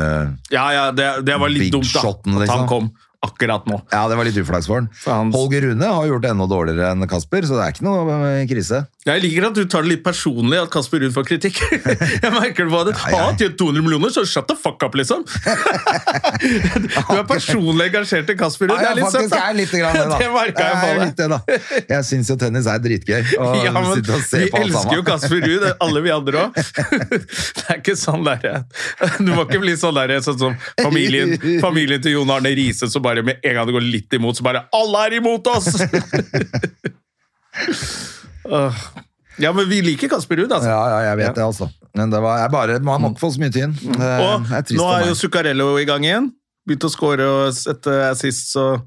A: ja, ja, det, det var litt
B: Big
A: dumt, da.
B: shotten,
A: At
B: liksom.
A: han kom akkurat nå.
B: Ja, det var litt uflaks for han.
A: Faen.
B: Holger Rune har gjort det enda dårligere enn Kasper, så det er ikke noe eh, krise.
A: Jeg liker at du tar det litt personlig at Kasper Ruud får kritikk. Jeg merker det på det. Han har tjent 200 millioner, så shut the fuck up, liksom! Du er personlig engasjert i Kasper Ruud.
B: Ja, jeg
A: Det er litt
B: faktisk
A: søtt, da.
B: er litt grann det, da.
A: Det merket jeg på
B: er
A: deg.
B: litt det, da. Jeg syns jo tennis er dritgøy. Og
A: Ja, men
B: sitte og se
A: vi
B: på alt
A: elsker jo
B: sammen.
A: Kasper Ruud, alle vi andre òg. Det er ikke sånn der Du må ikke bli sånn der sånn som familien, familien til Jon Arne Riise som bare med en gang det går litt imot, så bare Alle er imot oss! Åh. Ja, men vi liker Kasper Ruud, altså.
B: Ja, ja, jeg vet det, altså. Men det var, jeg bare, man må ikke få så mye tynn. Det
A: Og
B: er trist
A: nå
B: for
A: er jo
B: meg.
A: eh, Zuccarello i gang igjen. Begynt å score og sette assists og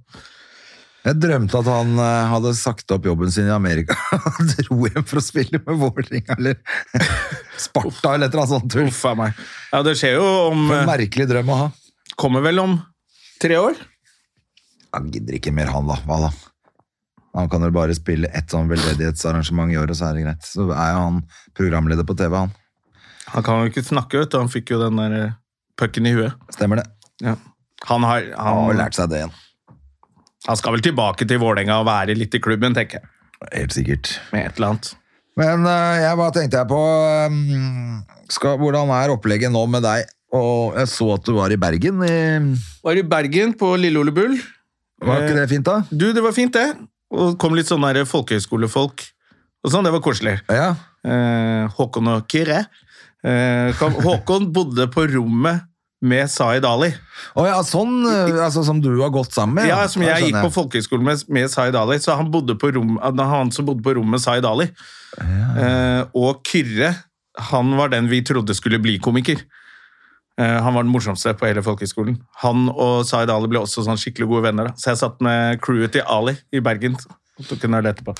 B: Jeg drømte at han eh, hadde sagt opp jobben sin i Amerika og dro hjem for å spille med Vålerenga eller Sparta eller et eller annet sånt tull.
A: Uff a meg. Ja, det skjer jo om
B: For en
A: eh,
B: merkelig drøm å ha.
A: Kommer vel om tre år?
B: Han gidder ikke mer, han da. Hva da? Han kan vel bare spille ett sånn veldedighetsarrangement i året, så er det greit. Så er jo han programleder på TV, han.
A: Han kan jo ikke snakke, vet du. Han fikk jo den der eh, pucken i huet.
B: Stemmer det.
A: Ja. Han, har,
B: Han har vel
A: han,
B: lært seg det igjen.
A: han skal vel tilbake til Vålerenga og være litt i klubben, tenker jeg.
B: Helt sikkert.
A: Med et eller annet.
B: Men eh, jeg bare tenkte jeg på eh, skal, Hvordan er opplegget nå med deg? Og jeg så at du var i Bergen. I,
A: Var i Bergen, på Lille Ole Bull.
B: var ikke det fint, da?
A: Du, det var fint, det. Og det kom litt sånne der folkehøyskolefolk og sånn. Det var koselig.
B: Ja.
A: Eh, Håkon og Kyrre. Eh, kom, Håkon bodde på rommet med Zaid Ali.
B: Å ja, sånn eh, altså, som du har gått sammen med?
A: Ja, som jeg gikk på
B: folk.
A: folkehøyskole med, med Zaid Ali, så han, bodde på rom, han som bodde på rommet med Zaid Ali. Eh, og Kyrre, han var den vi trodde skulle bli komiker. Eh, han var den morsomste på hele folkehøyskolen. Han og Zaid Ali ble også sånn skikkelig gode venner. Da. Så jeg satt med crewet til Ali i Bergen. og tok en øl etterpå.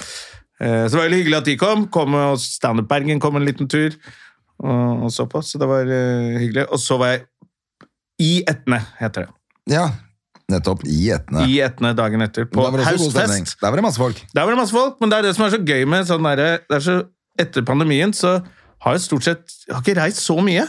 A: Eh, så det var veldig hyggelig at de kom. kom og Standup Bergen kom en liten tur og, og så på, så det var eh, hyggelig. Og så var jeg i Etne, heter det.
B: Ja, nettopp. I Etne.
A: I Etne dagen etter, på
B: Der var det også god stemning.
A: Hausfest.
B: Der var det masse folk.
A: Der var det masse folk, men det er det som er så gøy med sånn derre det er så, Etter pandemien så har jeg stort sett jeg har ikke reist så mye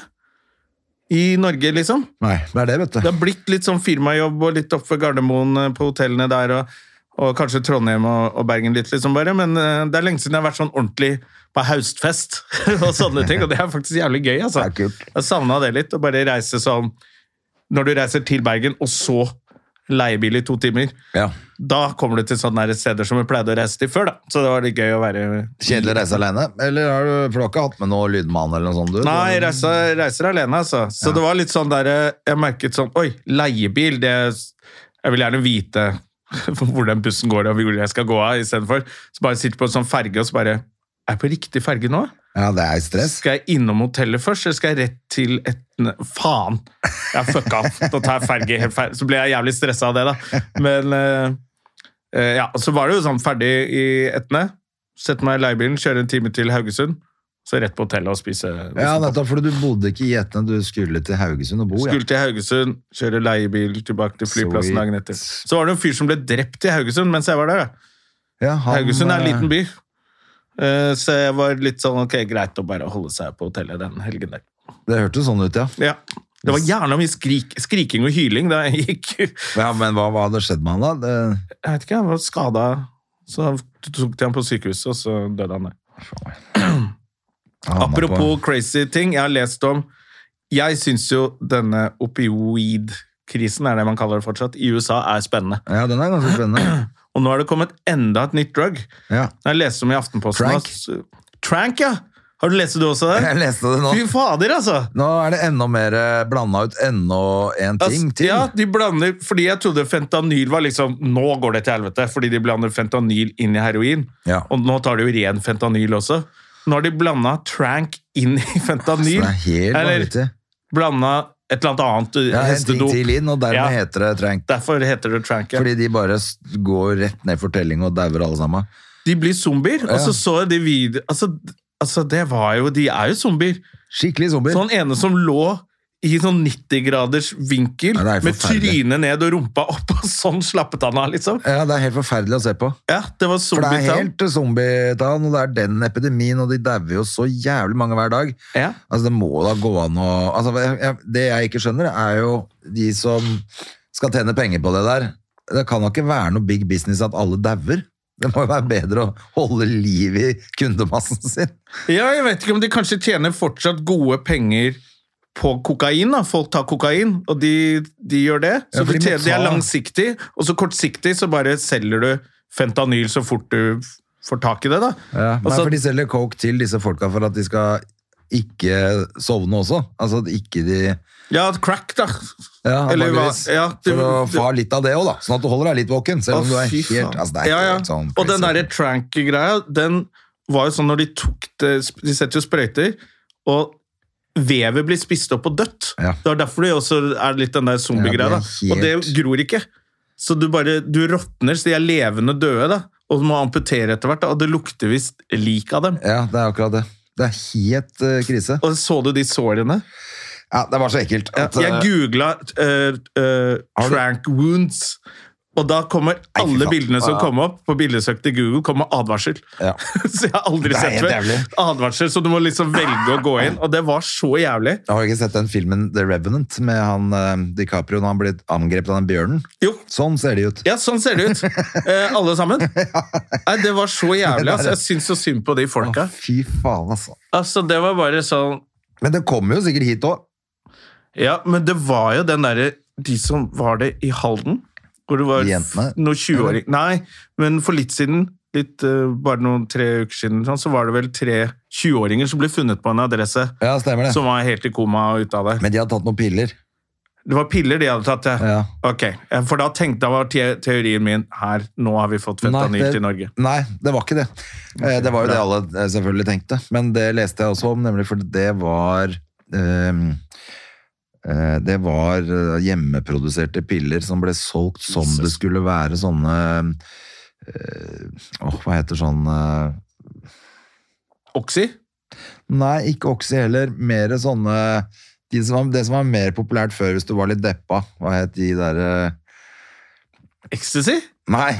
A: i Norge, liksom.
B: Nei, det er det, vet du.
A: Det har blitt litt sånn firmajobb og litt oppe ved Gardermoen eh, på hotellene der, og, og kanskje Trondheim og, og Bergen litt, liksom bare. Men eh, det er lenge siden jeg har vært sånn ordentlig på haustfest og sånne ting, og det er faktisk jævlig gøy, altså.
B: Det er kult.
A: Jeg savna det litt, å bare reise sånn Når du reiser til Bergen, og så leiebil i to timer.
B: Ja.
A: Da kommer du til sånne her steder som vi pleide å reise til før, da. Så det var litt gøy å være
B: Kjedelig å reise alene? Eller har du, for du har ikke hatt med noe lydmann eller noe sånt? Du.
A: Nei, jeg reiser, reiser alene, altså. Så det var litt sånn der Jeg merket sånn Oi, leiebil, det Jeg vil gjerne vite hvor den bussen går, og hvor jeg skal gå av, istedenfor. Så bare sitter på en sånn ferge, og så bare Er jeg på riktig ferge nå?
B: Ja, det er stress.
A: Skal jeg innom hotellet først, eller skal jeg rett til Etne? Faen! Jeg fucka opp. Da tar jeg ferge helt ferdig. Så ble jeg jævlig stressa av det, da. Men eh, eh, ja, så var det jo sånn ferdig i Etne. Sette meg i leiebilen, kjøre en time til Haugesund. Så rett på hotellet og Liksom. spise.
B: Ja, nettopp, for du bodde ikke i Etne, du skulle til Haugesund og bo, ja.
A: Skulle til Haugesund, kjøre leiebil tilbake til flyplassen
B: Sweet.
A: dagen etter. Så var det en fyr som ble drept i Haugesund mens jeg var der. da.
B: ja han,
A: Haugesund er en
B: eh,
A: liten by. Eh, Så jeg var litt sånn ok, greit å bare holde seg på hotellet den helgen der.
B: Det hørtes sånn ut, ja.
A: Ja. Det var jævla mye skrik, skriking og hyling da jeg gikk. Jeg
B: ja men hva, hva hadde skjedd med han da? Det,
A: vet ikke, han var skada. Så tok de ham på sykehuset, og så døde han der.
B: han havna på-
A: Apropos crazy ting, jeg har lest om Jeg syns jo denne opioid-krisen, er det man kaller det fortsatt, i USA er spennende.
B: Ja, den er ganske spennende.
A: Og nå har det kommet enda et nytt drug.
B: Ja.
A: Jeg leste om i Aftenposten
B: Trank.
A: altså. Trank, ja! Har du lest det også? Der?
B: Jeg leste det nå.
A: Fy fader, altså!
B: Nå er det enda mer eh, blanda ut enda en ting
A: Altså,
B: til.
A: Ja, de blander, fordi jeg trodde fentanyl var liksom Nå går det til helvete, fordi de blander fentanyl inn i heroin.
B: Ja.
A: Og nå tar de jo ren fentanyl også. Nå har de blanda trank inn i
B: Så det
A: fentanyl.
B: er helt vanvittig.
A: Eller blanda et eller annet annet eh,
B: Ja, en ting
A: hestedop.
B: til inn, og dermed
A: Ja.
B: heter det trank.
A: Derfor heter det trank. Ja.
B: Fordi de bare s- går rett ned fortelling og dauer alle sammen.
A: De blir zombier, og
B: Ja.
A: så så jeg de video... Altså, altså, det var jo De er jo zombier.
B: Skikkelig zombier.
A: Sånn ene som lå i sånn 90-graders vinkel,
B: Ja, det er
A: med
B: forferdelig.
A: trynet ned og rumpa opp, og sånn slappet han av, liksom.
B: Ja, det er helt forferdelig å se på.
A: Ja, det var
B: For det er helt
A: zombietann.
B: zombietan, og det er den epidemien, og de dauer jo så jævlig mange hver dag.
A: Ja.
B: Altså, det må da gå an å altså, jeg, jeg, Det jeg ikke skjønner, er jo de som skal tjene penger på det der. Det kan da ikke være noe big business at alle dauer. Det må jo være bedre å holde liv i kundemassen sin.
A: ja, jeg vet ikke om de kanskje tjener fortsatt gode penger på kokain, da. Folk tar kokain, og de, de gjør det.
B: Ja,
A: Så
B: for de
A: de,
B: må
A: tjener, de er
B: ta-
A: langsiktig, og så kortsiktig så bare selger du fentanyl så fort du f- får tak i det, da. Og
B: Nei,
A: så-
B: for de selger coke til disse folka for at de skal ikke sovne også. Altså at ikke de
A: ja, crack, da.
B: Ja,
A: Eller hva-
B: antageligvis.
A: ja, du-
B: For å
A: du-
B: få litt av det òg, da. Sånn at du holder deg litt våken. Selv om du
A: Å,
B: er
A: fy
B: helt
A: faen.
B: altså, det er
A: ja, ja.
B: helt sånn
A: Og den
B: crazy.
A: derre trank-greia, den var jo sånn når de tok det De setter jo sprøyter, og vevet blir spist opp og dødt.
B: Ja.
A: Det var derfor det også er litt den der
B: Ja,
A: zombie-greia.
B: det er
A: da. Og det
B: helt-
A: gror ikke. Så du bare du råtner, så de er levende døde, da. Og du må amputere etter hvert, da. og det lukter visst lik av dem.
B: Ja, det er akkurat det. Det er helt eh, krise.
A: Og så du de sårene?
B: Ja, det var så ekkelt.
A: Ja,
B: At, eh,
A: jeg googla Trank Wounds, og da kommer
B: Nei, fy
A: alle
B: faen.
A: bildene som kom opp på bildesøk til Google, kommer advarsel.
B: Ja.
A: så jeg har aldri
B: Det er
A: sett
B: helt
A: før.
B: jævlig.
A: Advarsel, så du må liksom velge å gå inn. Og det var så jævlig.
B: jeg har ikke sett den filmen The Revenant med han eh, DiCaprio når han ble angrepet av den bjørnen.
A: Jo.
B: Sånn ser det ut.
A: Ja, sånn ser det ut. Eh, alle sammen. Nei, det var så jævlig. Altså. Jeg syns så synd på de folka.
B: Fy faen, altså.
A: Altså, det var bare sånn
B: Men det kommer jo sikkert hit òg.
A: Ja, men det var jo den derre De som var det i Halden, hvor det var
B: De jentene?
A: noen 20-åring Nei, men for litt siden, litt, eh, bare noen tre uker siden, sånn, så var det vel tre 20-åringer som ble funnet på en adresse
B: Ja, stemmer det.
A: som var helt i koma og ute av det.
B: Men de har tatt noen piller.
A: Det var piller de hadde tatt, ja.
B: Ja.
A: Ok, eh, For da tenkte jeg var te- teorien min her, nå har vi fått fentanyl
B: Nei, det-
A: til Norge.
B: Nei, det var ikke det. Eh, Det var jo det alle eh, selvfølgelig tenkte, men det leste jeg også om, nemlig for det var ehm, eh, Det var eh, hjemmeproduserte piller som ble solgt som det skulle være sånne eh, Åh, hva heter sånn eh,
A: Oxy?
B: Nei, ikke Oxy heller. Mere sånne de som var, Det som var mer populært før hvis du var litt deppa. Hva het de derre
A: Ecstasy?
B: Nei,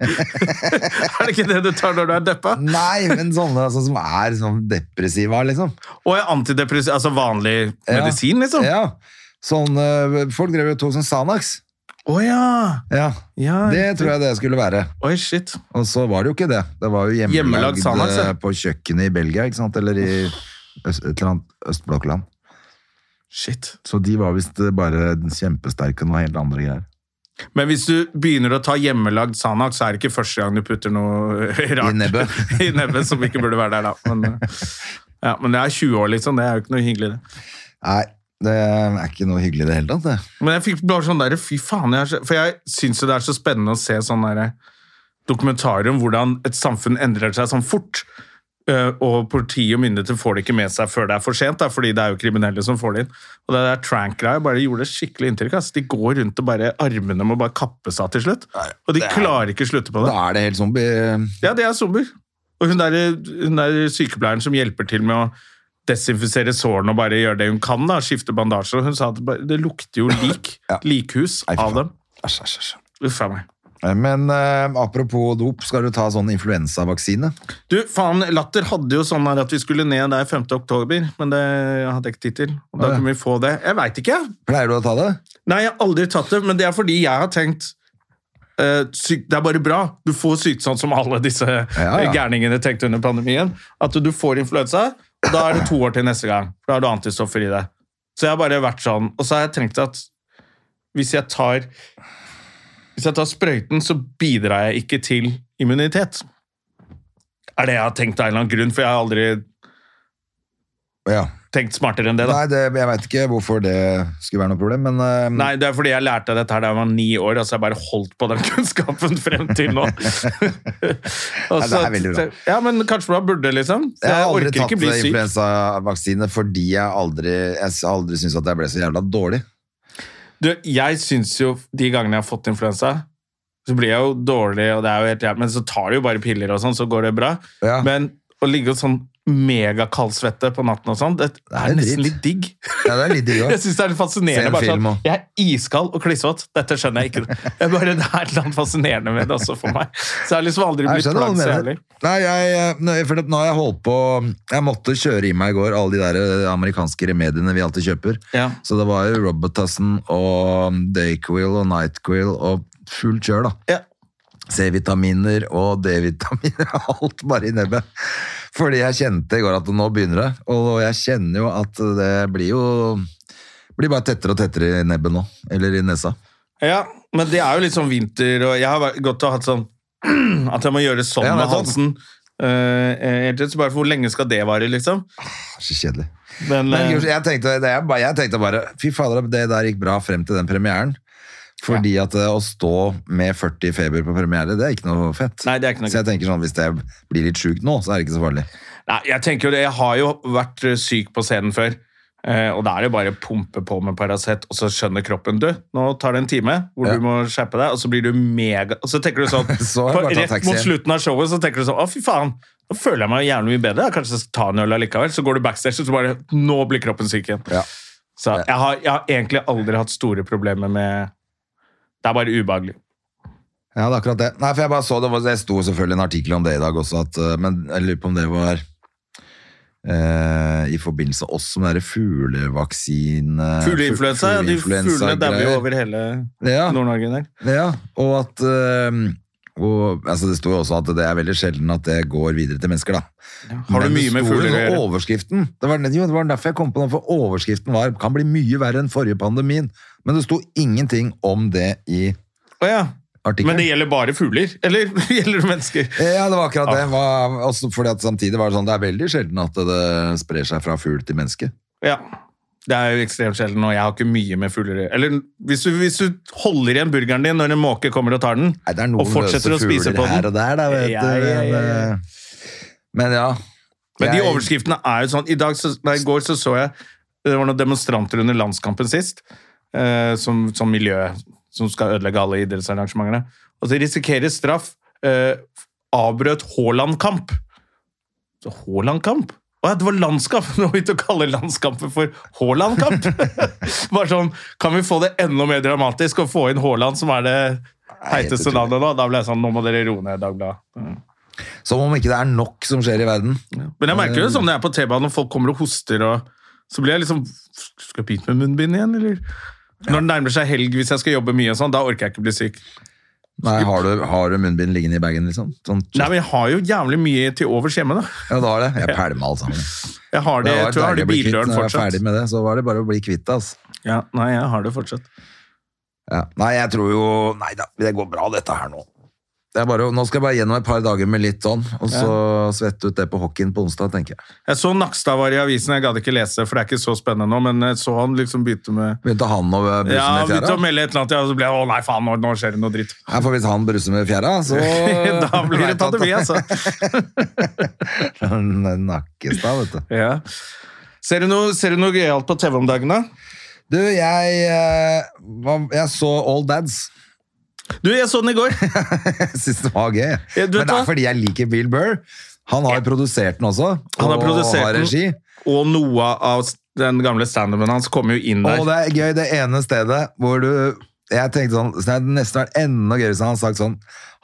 A: Er det ikke det du tar når du er deppa?
B: nei, men sånne altså, som er sånn depressiva, liksom.
A: Og er antidepressiv, altså vanlig
B: Ja.
A: medisin, liksom? Å ja.
B: Ja. Sånn, eh, folk drev jo og tok sånn Sanax. Ja.
A: ja!
B: Det tror jeg det skulle være.
A: Oi, shit.
B: Og så var det jo ikke det. Det var jo
A: Hjemmelagd
B: hjemmelagd
A: Xanax, ja.
B: eh, på kjøkkenet i Belgia, ikke sant? Eller i øst, et eller annet østblokkland.
A: Shit.
B: Så de var visst eh, bare kjempesterke og noe helt andre greier.
A: Men hvis du begynner å ta hjemmelagd Sanax, så er det ikke første gang du putter noe rart
B: nebbet.
A: i nebbet som ikke burde være der, da. Men, eh, ja, men det er 20 år, liksom. Det er jo ikke noe hyggelig, det.
B: Nei, det er ikke noe hyggelig i det hele tatt, det.
A: Men jeg fikk bare sånn derre Fy faen, jeg er så, for jeg syns jo det er så spennende å se sånn derre dokumentarer om hvordan et samfunn endrer seg sånn fort. Eh, og politi og myndigheter får det ikke med seg før det er for sent, da, fordi det er jo kriminelle som får det inn. Og det der trank-greia bare gjorde skikkelig inntrykk. ass. De går rundt og bare armene må bare kappes av til slutt. Og de klarer ikke slutte på det.
B: Da er det helt zombie.
A: Ja, det er sommer. Og hun der, hun der sykepleieren som hjelper til med å desinfisere sårene og bare gjøre det hun kan, da, skifte bandasjer, og hun sa at det bare- det lukter jo lik,
B: Ja.
A: likhus
B: Nei, fy
A: av
B: faen.
A: dem.
B: Æsj, æsj, æsj.
A: Uff a meg.
B: Men eh, apropos dop, skal du ta sånn influensavaksine?
A: Du, faen, Latter hadde jo sånn her at vi skulle ned der 5. oktober, men det hadde jeg ikke tid til.
B: Å,
A: Og da
B: ja.
A: kunne vi få det. Jeg veit ikke.
B: Pleier du å ta det?
A: Nei, jeg har aldri tatt det, men det er fordi jeg har tenkt eh, syk, Det er bare bra. Du får sykt sånn som alle disse eh,
B: ja.
A: gærningene tenkte under pandemien. At du får influensa, og da er det to år til neste gang. For da har du antistoffer i deg. Så jeg har bare vært sånn. Og så har jeg tenkt at hvis jeg tar Hvis jeg tar sprøyten, så bidrar jeg ikke til immunitet. Er det jeg har tenkt av en eller annen grunn, for jeg har aldri
B: Ja.
A: tenkt smartere enn det. da.
B: Nei, det, jeg veit ikke hvorfor det skulle være noe problem, men eh,
A: Nei, det er fordi jeg lærte dette her da jeg var ni år, altså jeg bare holdt på den kunnskapen frem til nå.
B: Nei, det er veldig bra.
A: Ja, men kanskje man burde, liksom. Så
B: Jeg har
A: jeg
B: aldri
A: orker
B: tatt
A: ikke bli syk.
B: influensavaksine fordi jeg aldri, jeg har aldri syntes at jeg ble så jævla dårlig.
A: Du, jeg syns jo de gangene jeg har fått influensa, så blir jeg jo dårlig, og det er jo helt jævlig, men så tar du jo bare piller og sånn, så går det bra.
B: Ja.
A: Men å ligge og sånn megakaldsvette på natten og sånn, det
B: er
A: er nesten
B: dritt.
A: litt digg.
B: Ja, det er litt digg
A: Jeg
B: også.
A: syns det er litt
B: Se
A: fascinerende.
B: en
A: Bare
B: film
A: sånn,
B: og-
A: jeg er iskald og klissvåt. Dette skjønner jeg ikke. Jeg bare, det er et eller annet fascinerende med det også for meg. Så jeg har liksom aldri
B: Jeg
A: blitt
B: skjønner hva du
A: plagd så
B: mener.
A: jævlig.
B: Nei, jeg, nei, for nå har jeg holdt på Jeg måtte kjøre i meg i går alle de der eh, amerikanske remediene vi alltid kjøper.
A: Ja.
B: Så det var jo Robitussin og Dayquil og Nightquil og fullt kjør, da.
A: Ja.
B: C-vitaminer og D-vitaminer alt bare i nebbet. Fordi jeg kjente i går at nå begynner det, og jeg kjenner jo at det blir jo blir bare tettere og tettere i nebbet nå, eller i nesa.
A: ja, men det er jo litt sånn vinter, og jeg har vært- gått og hatt sånn At jeg må gjøre sånn
B: Ja, det er
A: med
B: sånn.
A: halsen. eh, hele tiden, så bare Hvor lenge skal det vare, liksom?
B: Det er Så kjedelig.
A: Men,
B: Men
A: eh,
B: Gud, jeg tenkte, det, jeg, bare, jeg tenkte bare, fy fader, det der gikk bra frem til den premieren. Fordi at eh, å stå med 40 i feber på premiere, det er ikke noe fett.
A: Nei, det er ikke noe
B: så jeg tenker sånn, hvis jeg blir litt syk nå, så er det ikke så farlig.
A: Nei, jeg tenker jo det. Jeg har jo vært eh, syk på scenen før. Eh, og da er det bare å pumpe på med Paracet, og så skjønner kroppen du, nå tar det en time hvor
B: Ja.
A: du må skjerpe deg, og så blir du mega Og så tenker du sånn
B: Så har jeg
A: på-
B: bare tatt
A: Rett mot
B: taxi hjem.
A: slutten av showet så tenker du sånn Å, fy faen, nå føler jeg meg jævlig mye bedre. Kanskje jeg skal ta en øl allikevel. Så går du backstage, og så bare Nå blir kroppen syk igjen.
B: Ja.
A: Så jeg har, jeg har egentlig aldri hatt store problemer med Det er bare ubehagelig.
B: Ja, det er akkurat det. Nei, for jeg bare så det, var- det sto selvfølgelig en artikkel om det i dag også, at, eh, men jeg lurer på om det var eh, i forbindelse også med eh, den der fuglevaksine...
A: Fugleinfluensa. ja, De fuglene dauer jo over hele
B: Ja.
A: Nord-Norge der.
B: Ja, og at eh, og, altså Det sto jo også at det er veldig sjelden at det går videre til mennesker, da.
A: Har du mye med fugler å
B: gjøre?
A: gjøre?
B: Overskriften, det var, jo, det var derfor jeg kom på den, for overskriften var kan bli mye verre enn forrige pandemien. Men det sto ingenting om det i
A: Å ja. Men
B: artikkelen.
A: det gjelder bare fugler? Eller gjelder det mennesker?
B: Eh, Ja, det var akkurat
A: Ah.
B: det. Hva, også fordi at samtidig var det sånn, det er veldig sjelden at det sprer seg fra fugl til menneske.
A: Ja. Det er jo ekstremt sjelden, og jeg har ikke mye med fugler å gjøre. Eller hvis du, hvis du holder igjen burgeren din når en måke kommer og tar den,
B: Nei, det er noen
A: og fortsetter å
B: løse
A: spise
B: fugler
A: på
B: her og
A: den
B: der, da, vet
A: Ja,
B: du.
A: ja, ja,
B: Men,
A: ja.
B: eh, men ja.
A: Men de
B: Jeg-
A: overskriftene er jo sånn I dag, så, nei, i går så så jeg Det var noen demonstranter under landskampen sist, eh, som, som miljø som skal ødelegge alle idrettsarrangementene. Og de risikerer straff. Eh, avbrøt Haaland-kamp. Så Haaland-kamp? Å ja, det var landskamp! Nå begynte å kalle landskampen for Haaland-kamp! Bare sånn, Kan vi få det enda mer dramatisk og få inn Haaland, som er det
B: Nei, det tror
A: heiteste
B: jeg.
A: navnet nå? Da ble jeg sånn Nå må dere roe ned, Dagbladet. Mm.
B: Som om ikke det er nok som skjer i verden.
A: Men jeg merker
B: Eh.
A: jo det sånn når jeg er på T-banen og folk kommer og hoster, og så blir jeg liksom Skal jeg begynne med munnbind igjen, eller? Når det nærmer seg helg, hvis jeg skal jobbe mye og sånn, da orker jeg ikke bli syk.
B: Nei, har du, har du munnbind liggende i bagen, liksom? Sånn,
A: Nei, men jeg har jo jævlig mye til overs hjemme, da.
B: Ja, det har det. Jeg pælma alt sammen.
A: Jeg har det,
B: var
A: jeg tror jeg har det
B: deilig å bli
A: i
B: kvitt. Når jeg
A: bildøren
B: var
A: fortsatt.
B: ferdig med det, så var det bare å bli kvitt det, altså.
A: Ja, nei, jeg har det fortsatt.
B: Ja. Nei, jeg tror jo Nei da, det går bra dette her nå. Det er bare, å- nå skal jeg bare gjennom et par dager med litt sånn, og så svette ut det på hockeyen på onsdag, tenker jeg.
A: Jeg så Nakstad var i avisen, jeg gadd ikke lese, for det er ikke så spennende nå, men jeg så han liksom begynte med
B: Begynte han å bruse
A: ja, han
B: med
A: begynte
B: fjæra?
A: å melde et eller annet, ja, og så ble jeg å nei, faen, nå, nå skjer det noe dritt.
B: Ja, for hvis han bruser med fjæra, så
A: da blir det pandemi, altså.
B: Nakkestad, vet du.
A: Ja. Ser du noe, ser du noe gøyalt på TV om dagen, da?
B: Du, jeg, eh, var- jeg så All Dads.
A: Du, jeg så den i går.
B: Jeg synes det var gøy.
A: Ja, du
B: Men
A: vet
B: det
A: hva?
B: er fordi jeg liker Bill Burr. Han har jo produsert den også,
A: Han har
B: og
A: produsert
B: har
A: den.
B: regi.
A: Og noe av den gamle standupen hans kom jo inn der.
B: Og det er gøy, det ene stedet hvor du Jeg tenkte sånn, så det hadde nesten vært enda gøyere hvis han hadde sagt sånn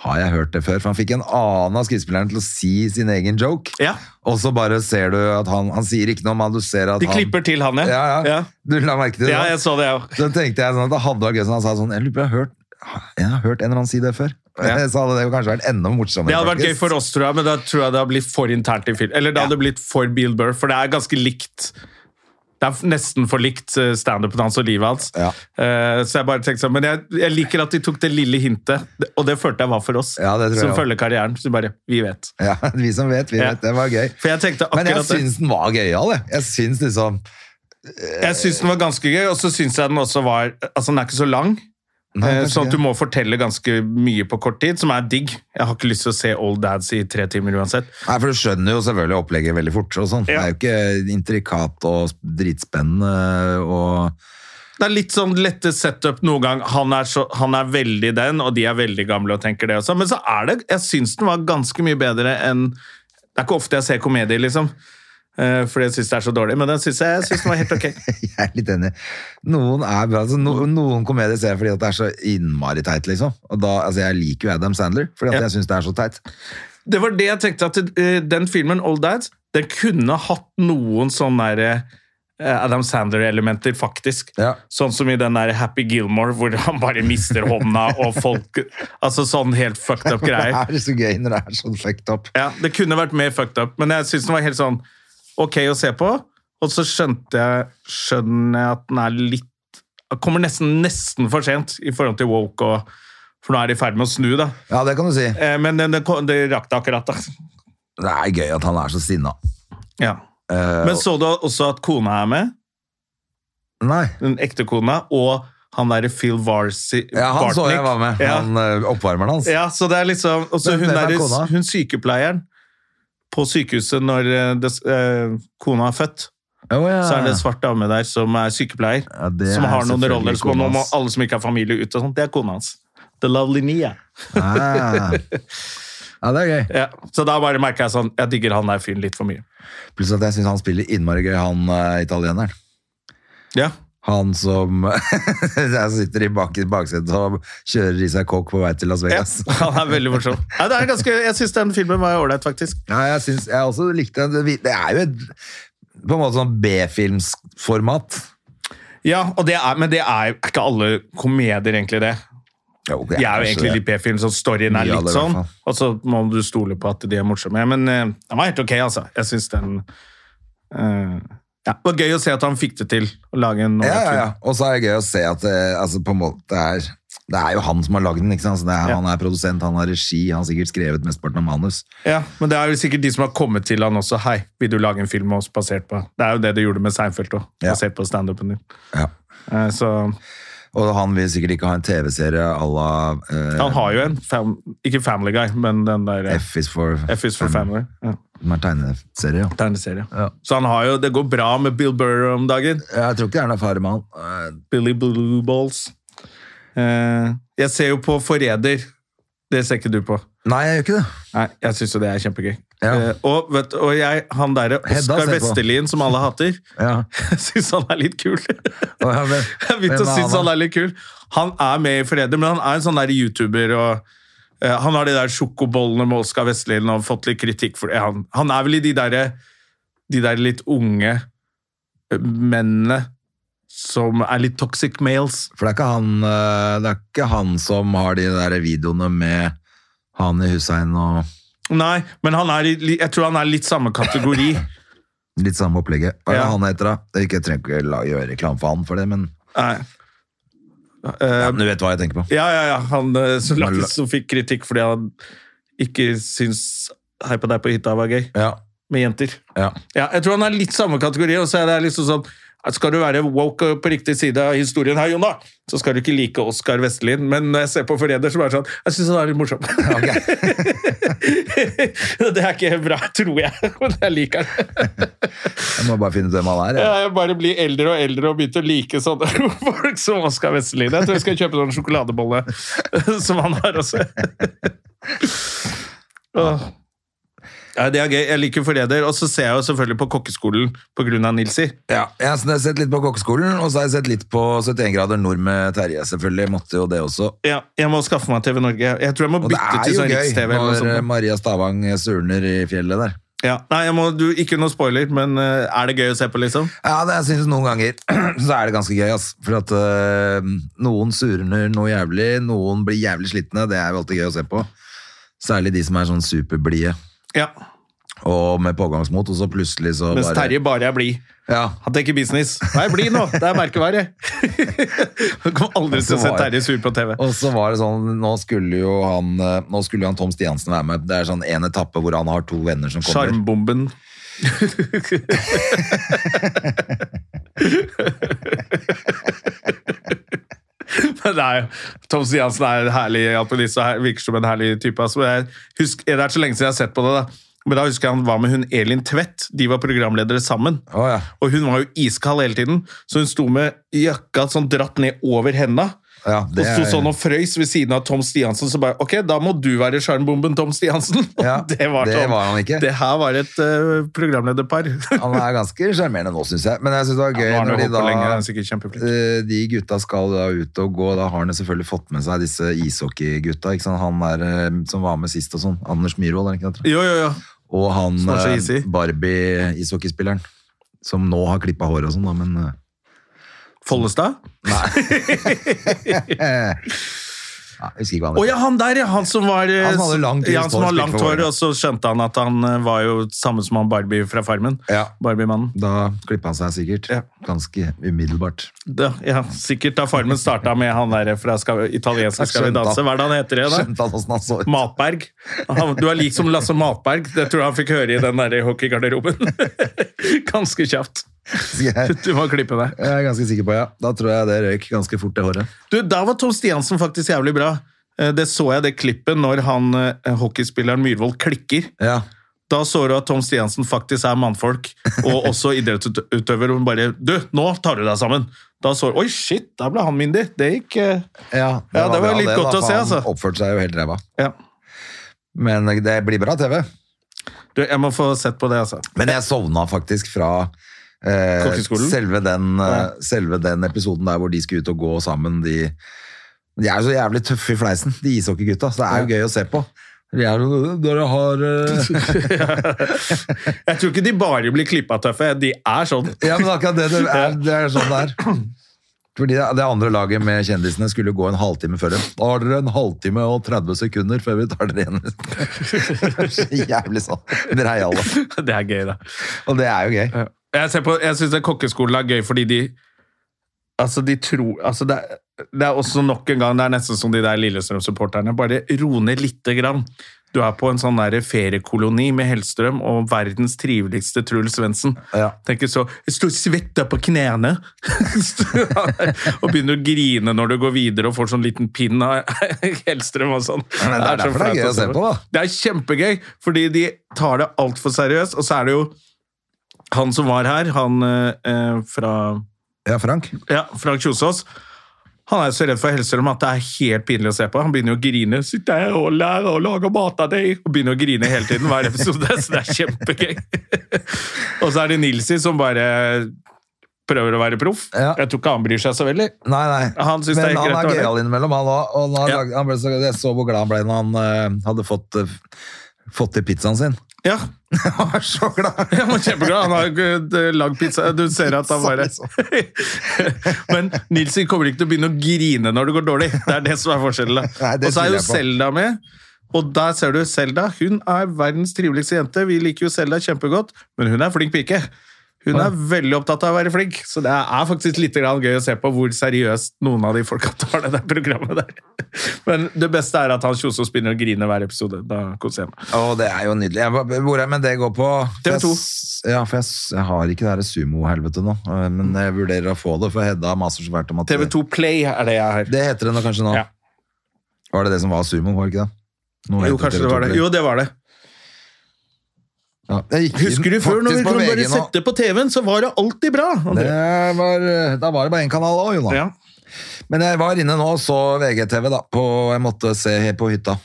B: Har jeg hørt det før? For han fikk en annen av skuespillerne til å si sin egen joke.
A: Ja,
B: Og så bare ser du at han Han sier ikke noe, men du ser at
A: De
B: han
A: klipper til han, ja.
B: Ja, ja.
A: ja.
B: Du la merke til det?
A: Ja,
B: da?
A: jeg så det, jeg òg.
B: Så tenkte jeg sånn at det hadde vært gøy hvis han sa sånn Jeg lurer på, jeg har hørt jeg har hørt en eller annen si det før.
A: Ja.
B: Så hadde det jo kanskje vært enda morsommere.
A: Det hadde vært gøy
B: faktisk.
A: for oss, tror jeg, men da tror jeg det hadde blitt for internt i film. Eller det hadde blitt for Bill Burr, for det er ganske likt. Det er nesten for likt eh, standupen hans og livet hans.
B: Ja.
A: Eh, Så jeg bare tenkte sånn, Men jeg, jeg liker at de tok det lille hintet, det- og det følte jeg var for oss.
B: Ja, det tror jeg
A: som
B: også.
A: følger karrieren. Så bare, vi vet.
B: Ja, vi som vet, vi
A: Ja.
B: vet. Det var gøy.
A: For jeg tenkte
B: Men jeg
A: akkurat det.
B: syns den var gøyal, jeg. Jeg syns liksom
A: Jeg syns den var ganske gøy, og så syns jeg den også var Altså, den er ikke så lang.
B: Nei,
A: Eh,
B: kanskje
A: Sånn at du
B: ikke.
A: må fortelle ganske mye på kort tid, som er digg. Jeg har ikke lyst til å se Old Dads i tre timer uansett.
B: Nei, for du skjønner jo selvfølgelig opplegget veldig fort og sånn. Det
A: Ja.
B: er jo ikke intrikat og dritspennende og
A: Det er litt sånn lette setup noen gang. Han er, så, han er veldig den, og de er veldig gamle og tenker det også. Men så er det Jeg syns den var ganske mye bedre enn Det er ikke ofte jeg ser komedie, liksom. Eh, Fordi jeg syns det er så dårlig, men den syns jeg, jeg synes den var helt ok.
B: Jeg er litt enig. Noen er bra. Altså, no, noen komedier ser jeg fordi at det er så innmari teit, liksom. Og da, altså, jeg liker jo Adam Sandler, fordi at
A: Ja.
B: jeg syns det er så teit.
A: Det var det jeg tenkte at eh, den filmen, Old Dads, den kunne hatt noen sånne der, eh, Adam Sandler-elementer, faktisk.
B: Ja.
A: Sånn som i den der Happy Gilmore, hvor han bare mister hånda og folk Altså sånn helt fucked up
B: Det
A: greier.
B: er så gøy når det er sånn fucked up.
A: Ja, Det kunne vært mer fucked up, men jeg syns den var helt sånn ok å se på. Og så skjønte jeg, skjønner jeg at den er litt Kommer nesten, nesten for sent i forhold til woke og For nå er de i ferd med å snu, da.
B: Ja, det kan du si.
A: Eh, Men den- den kom- det rakk det akkurat, altså. da.
B: Det er gøy at han er så sinna.
A: Ja.
B: Eh,
A: Men så du også at kona er med?
B: nei.
A: Den ekte kona. Og han derre Phil Varsi
B: Ja, han så jeg
A: Bartnick.
B: var med.
A: Ja.
B: Han, eh, oppvarmeren hans.
A: Ja, så det er liksom Og så
B: Men
A: hun,
B: hvem er
A: der-
B: kona?
A: hun sykepleieren på sykehuset når eh, des, eh, kona er født.
B: Å, ja.
A: Så er det en svart dame der som er sykepleier,
B: Ja, det
A: som
B: er
A: har noen
B: selvfølgelig
A: roller. Som
B: kona
A: nå må
B: hans.
A: alle som ikke har familie ut og sånt, det er kona hans. The lovely Nia.
B: Ah. Ja, det er gøy.
A: Ja. Så da bare merker jeg sånn, jeg digger han der fyren litt for mye.
B: Pluss at jeg syns han spiller innmari gøy, han eh, italieneren.
A: Ja.
B: Han som jeg sitter i bak, baksetet og kjører i seg kokk på vei til Las
A: Ja,
B: Vegas.
A: han er veldig morsom. Ja, det er ganske, jeg syns den filmen var ålreit, faktisk.
B: Ja, jeg syns Jeg også likte den. Det det er jo et på en måte sånn B-filmsformat.
A: Ja, og det er, Men det er jo er ikke alle komedier egentlig det.
B: Jo, det
A: De er jo
B: kanskje
A: egentlig
B: det.
A: litt B-film, så storyen er
B: Mye av det, i
A: litt
B: hvert
A: sånn.
B: fall.
A: Og så må du stole på at de er morsomme. Men eh, den var helt ok, altså. Jeg syns den eh, ja, Det var gøy å se at han fikk det til å lage en
B: Ja, ja, ja.
A: ålreit film.
B: Og så er det gøy å se at det, altså, på en måte er, det er jo han som har lagd den. Ikke sant? Så det er,
A: Ja.
B: Han er produsent, han har regi, han har sikkert skrevet mesteparten av manus.
A: Ja, Men det er jo sikkert de som har kommet til han også. 'Hei, vil du lage en film med oss basert på Det er jo det du gjorde med Seinfeld òg,
B: Ja.
A: basert på standupen din.
B: Ja.
A: Eh, så
B: Og han vil sikkert ikke ha en TV-serie à la eh,
A: han har jo en. Fam, ikke Family Guy, men den der eh,
B: F is for,
A: F is for Family. Ja.
B: Som er tegneserie, ja.
A: Tegneserie.
B: Ja.
A: Så han har jo, det går bra med Bill Burr om dagen.
B: Jeg tror ikke det er noe fare med han.
A: Billy Blue Balls. Eh, jeg ser jo på Forræder. Det ser ikke du på.
B: Eh, Nei, jeg gjør ikke det.
A: Nei, jeg syns jo det er kjempegøy.
B: Ja.
A: Eh, og vet, og jeg, han derre
B: Hedda ser
A: Oskar
B: på.
A: Vesterlien, som alle hater,
B: Ja.
A: jeg syns han er litt kul. jeg
B: Og jeg ble-
A: har begynt å
B: hvem er
A: synes
B: da?
A: han er litt kul. Han er med i Forræder, men han er en sånn der YouTuber og eh, han har de der sjokobollene med Oskar Vestlien og fått litt kritikk for det. Han, han er vel i de der, de der litt unge eh, mennene som er litt toxic males.
B: For det er, ikke han, eh, det er ikke han som har de der videoene med han i Hussein og
A: Nei, men han er i, li- jeg tror han er litt samme kategori.
B: litt samme opplegget. Hva er det
A: Ja.
B: han heter, da? Ikke, jeg trenger ikke la- gjøre reklame for han for det, men
A: Nei. Eh,
B: ja, men du vet hva jeg tenker på.
A: ja, ja, ja. Han eh, som,
B: Men la-
A: lagde, som fikk kritikk fordi han ikke syns Hei på deg på hytta var gøy,
B: Ja,
A: med jenter.
B: ja.
A: Ja, jeg tror han er litt samme kategori, og så er det liksom sånn skal du være woke og på riktig side av historien her, Jon, da, så skal du ikke like Oskar Vestlien, men når jeg ser på Forræder, så er det sånn Jeg syns han er litt morsom. det er ikke bra, tror jeg, men jeg liker det.
B: Jeg må bare finne ut hvem han er.
A: Ja,
B: jeg.
A: jeg bare blir eldre og eldre og begynte å like sånne folk som Oskar Vestelin. Jeg tror jeg skal kjøpe sånn sjokoladebolle som han har også. Åh. Ja, det er gøy. Jeg liker Forræder. Og så ser jeg jo selvfølgelig på Kokkeskolen pga. Nilsi.
B: Ja, jeg har sn- sett litt på kokkeskolen, og så har jeg sett litt på 71 grader nord med Terje, selvfølgelig. Måtte jo det også.
A: Ja, jeg må skaffe meg TV Norge. Jeg tror jeg må
B: Og det
A: bytte
B: er
A: til
B: jo
A: sånn
B: gøy
A: Riks-TV. eller noe
B: når eh,
A: sånt.
B: Maria Stavang surner i fjellet der.
A: Ja. Nei, jeg må, du, ikke noe spoiler, men eh, er det gøy å se på, liksom?
B: Ja, det jeg synes noen ganger så er det ganske gøy, ass. For at øh, noen surner noe jævlig, noen blir jævlig slitne. Det er jo alltid gøy å se på. Særlig de som er sånn superblide
A: Ja.
B: og med pågangsmot, og så plutselig så
A: Mens
B: bare
A: Terje bare er blid.
B: Ja.
A: Han tenker business. Nei, bli nå! Det er merkevare. Du kommer aldri til å se Terje sur på TV.
B: Og så var det sånn, nå skulle jo han, øh, nå skulle jo han Tom Stiansen være med. Det er sånn en etappe hvor han har to venner som kommer.
A: Sjarmbomben. Men det er jo, Tom Stiansen er en herlig alpinist og her- virker som en herlig type. Altså, jeg husker, det er så lenge siden jeg har sett på det, da. men da husker jeg han var med hun Elin Tvedt. De var programledere sammen.
B: Å ja.
A: Og hun var jo iskald hele tiden, så hun sto med jakka sånn dratt ned over henda.
B: Ja, det
A: og sto
B: er-
A: sånn og frøys ved siden av Tom Stiansen, så bare Ok, da må du være sjarmbomben, Tom Stiansen. Og
B: Ja, det
A: sånn,
B: var han ikke.
A: Det her var et eh, programlederpar.
B: Han er ganske sjarmerende nå, syns jeg. Men jeg syns det var gøy
A: Nå har han jo
B: når de
A: holdt
B: da
A: på lenge, han er sikkert kjempeflink.
B: Eh, de gutta skal da ut og gå. Da har han jo selvfølgelig fått med seg disse ishockeygutta. ikke sant? Han der eh, som var med sist og sånn. Anders Myhrvold, er det ikke det? jeg tror?
A: Jo, jo, jo.
B: Og han
A: Som er så
B: eh,
A: easy.
B: Barbie-ishockeyspilleren. Som nå har klippa håret og sånn, da, men eh,
A: Follestad?
B: ja, jeg husker ikke hva han
A: Å
B: heter.
A: ja, han der, ja! Han som var eh,
B: Han som hadde langt
A: ja, han som
B: hår,
A: hadde langt
B: spilte for
A: hår,
B: Vålerenga.
A: og så skjønte han at han eh, var jo samme som han Barbie fra Farmen.
B: Ja.
A: Barbie-mannen.
B: Da klippa han seg sikkert.
A: Ja.
B: Ganske umiddelbart.
A: Da- Ja, sikkert da Farmen starta med han der fra skal, italienske
B: Jeg
A: Skal vi
B: skjønte
A: danse.
B: han.
A: Hva er det han heter igjen? da?
B: Skjønte han åssen han så ut.
A: Matberg. Han, du er lik som Lasse Matberg. Det tror jeg han fikk høre i den der hockeygarderoben. Ganske kjapt.
B: Jeg jeg
A: Du må klippe deg.
B: er ganske sikker på, ja. Da tror jeg det røyk ganske fort, det håret.
A: Du, da var Tom Stiansen faktisk jævlig bra. Eh, Det så jeg det klippet når han eh, hockeyspilleren Myhrvold klikker.
B: Ja.
A: Da så du at Tom Stiansen faktisk er mannfolk, og også idrettsutøver. Og hun bare Du, nå tar du deg sammen! Da så Oi, shit, der ble han myndig! Det gikk eh,
B: Ja,
A: Ja, det var
B: bra
A: litt godt
B: da,
A: å se,
B: for han
A: altså.
B: Oppførte seg jo helt ræva.
A: Ja.
B: Men det blir bra TV.
A: Du, jeg må få sett på det, altså.
B: Men jeg sovna faktisk fra eh,
A: Kokkeskolen?
B: selve, den, eh,
A: Ja.
B: selve den episoden der hvor de skulle ut og gå sammen. De, de er jo så jævlig tøffe i fleisen, de ishockeygutta, så det er jo gøy å se på. De er jo Dere har eh,
A: Jeg tror ikke de bare blir klippa tøffe. De er sånn.
B: Ja, men akkurat det, det, er, det er sånn det er. Fordi det- Det andre laget med kjendisene skulle gå en halvtime før dem. Da har dere en halvtime og 30 sekunder før vi tar dere igjen. Så jævlig sånn. Dreiale.
A: Det er gøy, da.
B: Og det er jo gøy.
A: Jeg, ser på- jeg syns kokkeskolen er gøy fordi de Altså, de tror altså det, er, det er også nok en gang Det er nesten som de der Lillestrøm-supporterne. Bare ro ned lite grann. Du er på en sånn der feriekoloni med Hellstrøm og verdens triveligste Truls Svendsen.
B: Ja.
A: Tenker så Jeg står svetta på knærne! og begynner å grine når du går videre og får sånn liten pinn av Hellstrøm og sånn.
B: Men det er
A: så
B: derfor det er
A: flaut
B: gøy å se på, da.
A: Det er kjempegøy, fordi de tar det altfor seriøst. Og så er det jo han som var her, han eh, eh, fra
B: ja, Frank.
A: ja, Frank Kjosås. Han er så redd for Hellstrøm at det er helt pinlig å se på. Han begynner å grine. Sitter her og lærer å lage mat av deg. Og begynner å grine hele tiden hver episode, så det er kjempegøy. og så er det Nilsi som bare prøver å være proff.
B: Ja.
A: Jeg tror ikke han bryr seg så veldig.
B: Nei, nei.
A: Han synes
B: Men
A: det er
B: han
A: greit å
B: er
A: være.
B: gøyal innimellom, han òg. Og han har
A: Ja.
B: lagd- han ble så, jeg så hvor glad han ble når han eh, hadde fått, eh, fått til pizzaen sin.
A: Ja,
B: Han var så glad!
A: han var kjempeglad. Han har ikke, eh, lagd pizza. Du ser at
B: Sånn,
A: han bare Men Nilsi kommer ikke til å begynne å grine når det går dårlig. Det er det som er forskjellen. da.
B: Nei,
A: Og
B: det
A: så er
B: tviler
A: jo
B: jeg på.
A: Selda med. Og der ser du Selda. Hun er verdens triveligste jente. Vi liker jo Selda kjempegodt, men hun er flink pike. Hun er veldig opptatt av å være flink, så det er faktisk litt grann gøy å se på hvor seriøst noen av de folka tar det der programmet der. Men det beste er at han Kjosås begynner å grine hver episode. Da koser jeg meg.
B: Og det er jo nydelig. Jeg, var- hvor er, men det går på
A: TV
B: Jeg
A: 2.
B: s- Ja, for jeg, s- jeg har ikke det her sumo-helvete nå, eh,
A: Mm.
B: men jeg vurderer å få det, for Hedda maser så fælt om at
A: TV2 Play er det jeg har.
B: Det heter det nå kanskje nå.
A: Ja.
B: Var det det som var sumo, var det ikke det? Nå
A: Jo,
B: heter TV2
A: kanskje det var det.
B: Play.
A: Jo, det var det.
B: Ja, jeg gikk inn
A: Husker du før, når
B: faktisk
A: vi
B: på
A: kunne bare
B: VG nå.
A: sette på TV-en, så var det alltid bra. André.
B: Det var, eh, da var det bare én kanal òg, Jonas.
A: Ja.
B: Men jeg var inne nå og så VGTV, da. På, jeg måtte se på hytta.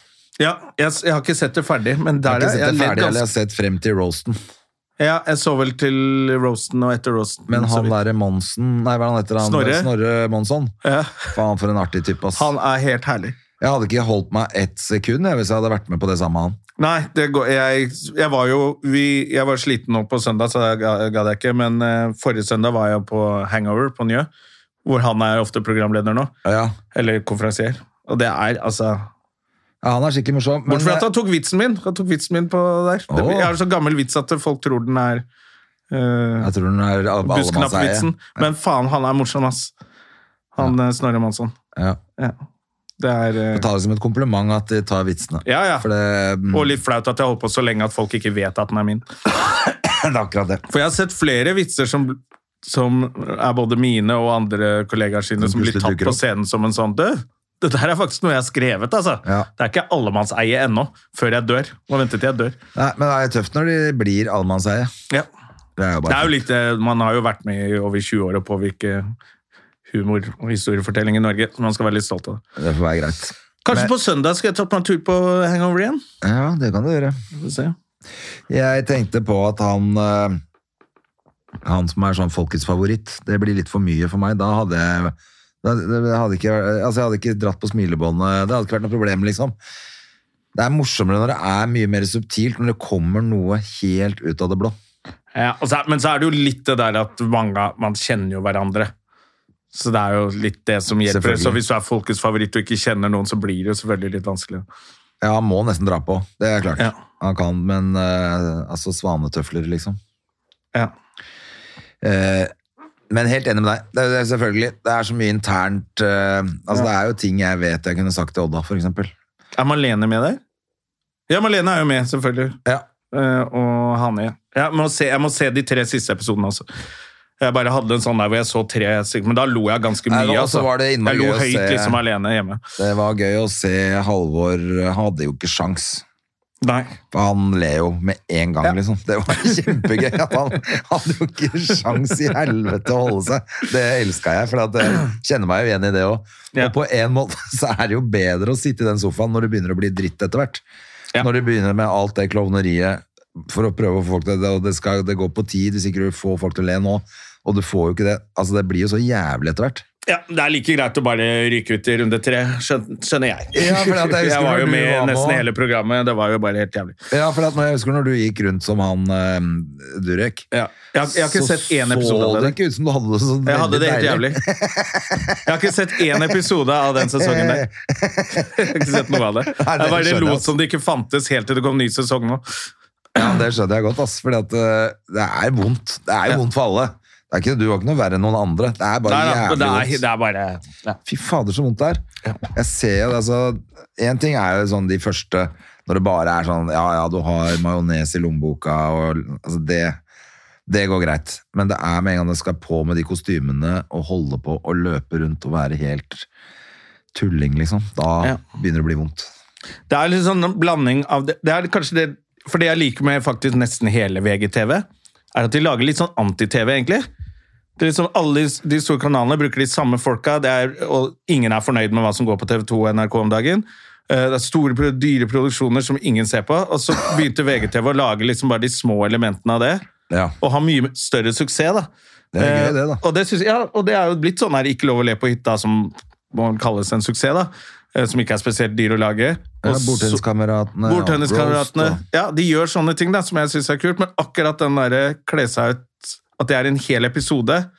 A: Ja, jeg, jeg har ikke sett det ferdig, men
B: Jeg har
A: der
B: ikke
A: er
B: sett
A: jeg
B: det
A: ledd
B: ferdig, altså. eller jeg
A: ganske
B: har sett frem til roasten.
A: ja, Jeg så vel til roasten og etter roasten.
B: Men
A: så
B: han
A: vidt.
B: derre Monsen Nei, hva er han heter han?
A: Snorre?
B: Snorre Monsson.
A: ja,
B: Faen, for en artig type, ass.
A: han er helt herlig.
B: Jeg hadde ikke holdt meg ett sekund jeg, hvis jeg hadde vært med på det samme han.
A: Nei, det går, jeg, jeg var jo vi, jeg var sliten nå på søndag, så jeg ga- gadd jeg ikke. Men eh, forrige søndag var jeg på Hangover på Njø, hvor han er ofte programleder nå.
B: Ja,
A: Eller konferansier. Og det er altså
B: ja han er skikkelig morsom. men- eh,
A: Bortsett fra at han tok vitsen min. Han tok vitsen min på der. Det,
B: Åh.
A: jeg har så gammel vits at folk tror den er eh,
B: jeg tror den er av-
A: Buskenapp-vitsen.
B: allemannseie.
A: Men faen, han er morsom, ass. Han eh, Snorre Monsson.
B: Ja.
A: Ja. Det er eh,
B: Ta det som et kompliment at de tar vitsene.
A: Ja, ja.
B: For det, mm,
A: Og litt flaut at jeg holdt på så lenge at folk ikke vet at den er min.
B: det er akkurat det.
A: For jeg har sett flere vitser som, som er både mine og andre kollegaer sine,
B: Som
A: som blir
B: plutselig
A: tatt
B: dukker
A: på
B: opp.
A: scenen som en sånn Død! Det der er faktisk noe jeg har skrevet, altså.
B: Ja.
A: Det er ikke allemannseie ennå, før jeg dør. Må vente til jeg dør.
B: Nei, men det er jo tøft når de blir allemannseie.
A: Ja.
B: Det er jo
A: Det
B: bare
A: er jo litt, eh, man har jo vært med i over 20 år og påvirke humor og historiefortelling i Norge, så man skal være litt stolt av det.
B: Det får være greit.
A: Kanskje
B: Men-
A: på søndag skal jeg ta på en tur på Hangover igjen?
B: Ja, det kan du gjøre.
A: Vi får se.
B: Jeg tenkte på at han eh, Han som er sånn folkets favoritt, det blir litt for mye for meg. Da hadde jeg da, det hadde ikke, altså jeg hadde ikke dratt på smilebåndet. Det hadde ikke vært noe problem, liksom. Det er morsommere når det er mye mer subtilt, når det kommer noe helt ut av det blå.
A: Ja, og så, er- men så er det jo litt det der at mange, man kjenner jo hverandre. Så det er jo litt det som hjelper.
B: Selvfølgelig.
A: Så hvis du er folkets favoritt og ikke kjenner noen, så blir det jo selvfølgelig litt vanskelig.
B: Ja, han må nesten dra på. Det er klart.
A: Ja.
B: Han kan, men eh, altså svanetøfler, liksom.
A: Ja.
B: Eh, men helt enig med deg. Det er, det er selvfølgelig. Det er så mye internt eh, Altså, det er jo ting jeg vet jeg kunne sagt til Odda, for eksempel.
A: Er Malene med der? Ja, Malene er jo med, selvfølgelig.
B: Ja.
A: Eh, og Hanne. Jeg må, se, jeg må se de tre siste episodene, altså. Jeg bare hadde en sånn der hvor jeg så tre stykker, men da lo jeg ganske mye. altså.
B: Nei, det var- så var det innmari
A: jeg lo
B: gøy å
A: høyt
B: se-
A: liksom alene hjemme.
B: Det var gøy å se Halvor. Han hadde jo ikke sjans.
A: Nei.
B: For Han ler jo med en gang, liksom. Det var kjempegøy. at Han hadde jo ikke sjans i helvete å holde seg. Det elska jeg, for at jeg kjenner meg jo igjen i det òg.
A: Ja.
B: Og på en måte så er det jo bedre å sitte i den sofaen når det begynner å bli dritt etter hvert.
A: Ja.
B: Når det begynner med alt det klovneriet for å prøve å få folk til det, og det, skal, det går på tid hvis ikke du får folk til å le nå, og du får jo ikke det. Altså, det blir jo så jævlig etter hvert.
A: Ja, Det er like greit å bare ryke ut i runde tre, skjøn- skjønner jeg.
B: Ja, for at jeg husker
A: var
B: når
A: jo
B: du
A: med
B: var med
A: nesten
B: også.
A: hele programmet. Det var jo bare helt jævlig.
B: Ja, for at når jeg husker når du gikk rundt som han eh, Durek
A: Ja. Jeg, har- jeg har ikke sett én episode av
B: Så det
A: det.
B: ikke ut som du hadde det så
A: Jeg hadde
B: veldig
A: det helt
B: deilig.
A: jævlig. Jeg har ikke sett én episode av den sesongen der. Jeg har ikke sett noe av det.
B: Nei, det
A: Jeg bare
B: skjønner jeg,
A: lot
B: altså.
A: som det ikke fantes helt til det kom ny sesong nå.
B: Ja, det skjønner jeg godt, ass. Fordi at eh, det er vondt. Det er jo vondt for alle. Det er ikke, du var ikke noe verre enn noen andre. Det er bare
A: Nei, nei, men
B: jævlig
A: det er,
B: vondt.
A: det er bare ja.
B: Fy fader, så vondt det er. Jeg ser jo det, altså. En ting er jo sånn de første, når det bare er sånn, ja, ja, du har majones i lommeboka, og altså det... Det går greit, men det er med en gang det skal på med de kostymene og holde på og løpe rundt og være helt tulling, liksom. Da
A: Ja.
B: begynner det å bli vondt.
A: Det er litt sånn en blanding av det. det er kanskje det, for det jeg liker med faktisk nesten hele VGTV, er at de lager litt sånn anti-TV, egentlig. Det er liksom Alle de- de store kanalene bruker de samme folka, det er, og ingen er fornøyd med hva som går på TV 2 og NRK om dagen. Eh, Det er store, pro- dyre produksjoner som ingen ser på. Og så begynte VGTV å lage liksom bare de små elementene av det,
B: Ja.
A: og ha mye større suksess, da.
B: Det er gøy,
A: Eh,
B: det, da.
A: Og det, synes, jeg- ja, og det er jo blitt sånn her Ikke lov å le på hytta, som må kalles en suksess, da. Eh, Som ikke er spesielt dyr å lage.
B: Ja,
A: Og så-
B: Bordtenniskameratene. ja,
A: Bordtenniskameratene.
B: roast og-
A: Ja, de gjør sånne ting da, som jeg syns er kult, men akkurat den derre kle seg ut At det er en hel episode,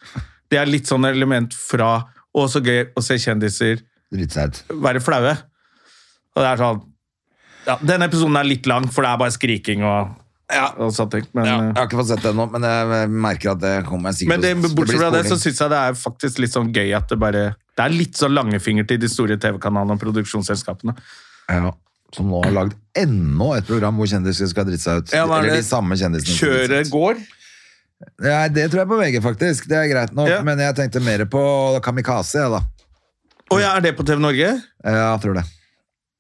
A: det er litt sånn element fra Å, så gøy å se kjendiser
B: Drite seg ut.
A: være flaue. Og det er sånn ja, Denne episoden er litt lang, for det er bare skriking og, og sånne ting. Men,
B: Ja,
A: eh,
B: jeg har ikke fått sett det ennå, men jeg merker at det kommer jeg sikkert
A: men det,
B: til å-
A: bortsett fra
B: blir
A: det, så
B: spoling.
A: syns jeg det er faktisk litt sånn gøy at det bare Det er litt sånn langefinger til de store TV-kanalene og produksjonsselskapene.
B: ja, Som nå har lagd enda et program hvor kjendiser skal drite seg ut.
A: Ja, hva er
B: Eller de
A: det?
B: samme kjendisene. skal drite seg
A: Kjøret
B: ut.
A: går.
B: Nei, det tror jeg på VG, faktisk. Det er greit nok.
A: Ja.
B: Men jeg tenkte mer på Kamikaze, jeg, da.
A: Å ja, er det på TV Norge?
B: Ja, Jeg tror det.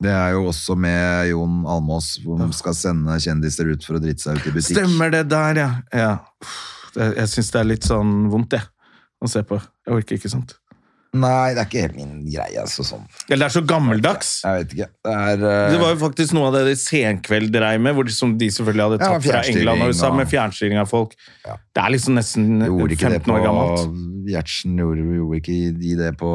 B: Det er jo også med Jon Almås, hvor de skal sende kjendiser ut for å drite seg ut i butikk.
A: Stemmer det der, ja. ja. Uff, det- Jeg syns det er litt sånn vondt, jeg, å se på. Jeg orker ikke sånt.
B: Nei, det er ikke helt min greie, altså sånn.
A: Eller det er så gammeldags.
B: Jeg vet ikke. Det er eh,
A: Det var jo faktisk noe av det de Senkveld dreiv med, hvor de, som de selvfølgelig hadde
B: Ja,
A: tatt fra England og USA,
B: fjernstyring og-
A: med fjernstyring av folk. Det er liksom nesten
B: Gjorde ikke det
A: 15
B: på
A: år gammelt.
B: Gjertsen gjorde, gjorde ikke de det på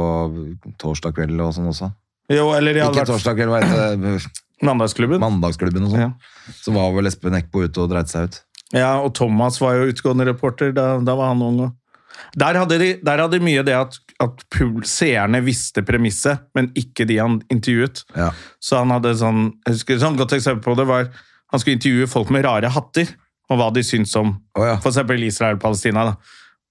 B: torsdag kveld og sånn også?
A: Jo, eller de
B: Ikke
A: hadde vært
B: torsdag kveld, hva heter det?
A: Mandagsklubben.
B: Mandagsklubben og sånn. Så var vel Espen Eckbo ute og dreit seg ut.
A: Ja, og Thomas var jo utgående reporter, da, da var han ung òg. Der hadde de der hadde de mye det at, at pub- seerne visste premisset, men ikke de han intervjuet.
B: Ja.
A: Så han hadde sånn jeg husker, sånn godt eksempel på det var Han skulle intervjue folk med rare hatter, og hva de syntes om
B: Å ja.
A: for eksempel Israel og Palestina. Da.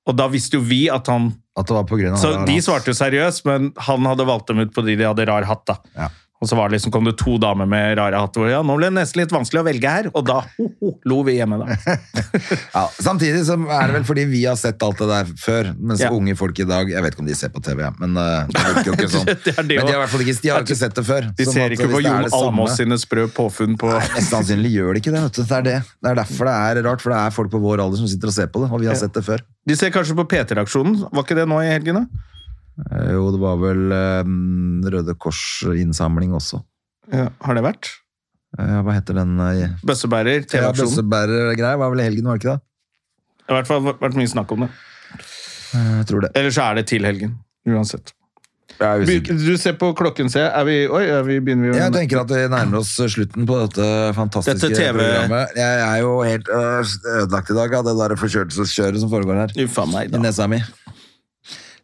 A: Og da visste jo vi at han
B: At det var på grunn av
A: Så
B: det,
A: de
B: altså.
A: svarte jo seriøst, men han hadde valgt dem ut på de de hadde rar hatt. da.
B: Ja.
A: Og så var det liksom, kom det to damer med rare hatter. hvor, Ja, nå ble det nesten litt vanskelig å velge her, og da ho, ho, lo vi hjemme, da.
B: ja, Samtidig så er det vel fordi vi har sett alt det der før, mens
A: Ja.
B: unge folk i dag Jeg vet ikke om de ser på TV, ja, men eh, det virker jo ikke sånn.
A: Det er det
B: men de har
A: også.
B: i hvert fall ikke, de har jo ikke sett det før.
A: De
B: sånn
A: ser
B: at
A: ikke
B: hvis
A: på
B: det er
A: Jon
B: det samme-
A: Almås sine sprø påfunn på
B: Mest sannsynlig gjør de ikke det. Vet du. Det, er det. det er derfor det er rart, for det er folk på vår alder som sitter og ser på det, og vi har sett det før.
A: De ser kanskje på PT-reaksjonen. Var ikke det nå i helgene?
B: Eh, Jo, det var vel eh, Røde Kors-innsamling også.
A: Ja. Har det vært?
B: Eh, hva heter den uh,
A: Bøssebærer, TV-aksjonen.
B: Bøssebærer-greia? Var vel i helgen, var det ikke det?
A: Det har i hvert fall vært mye snakk om det.
B: Eh, Jeg tror det.
A: Eller så er det til helgen. Uansett.
B: Jeg,
A: Be- Du ser på klokken, ser jeg. Er vi Oi, er vi, begynner vi å-
B: tenker at vi nærmer oss slutten på dette fantastiske
A: Dette TV
B: programmet. Jeg er jo helt øh, ødelagt i dag av det der forkjølelseskjøret som foregår her.
A: Uff a meg,
B: I
A: da.
B: nesa mi.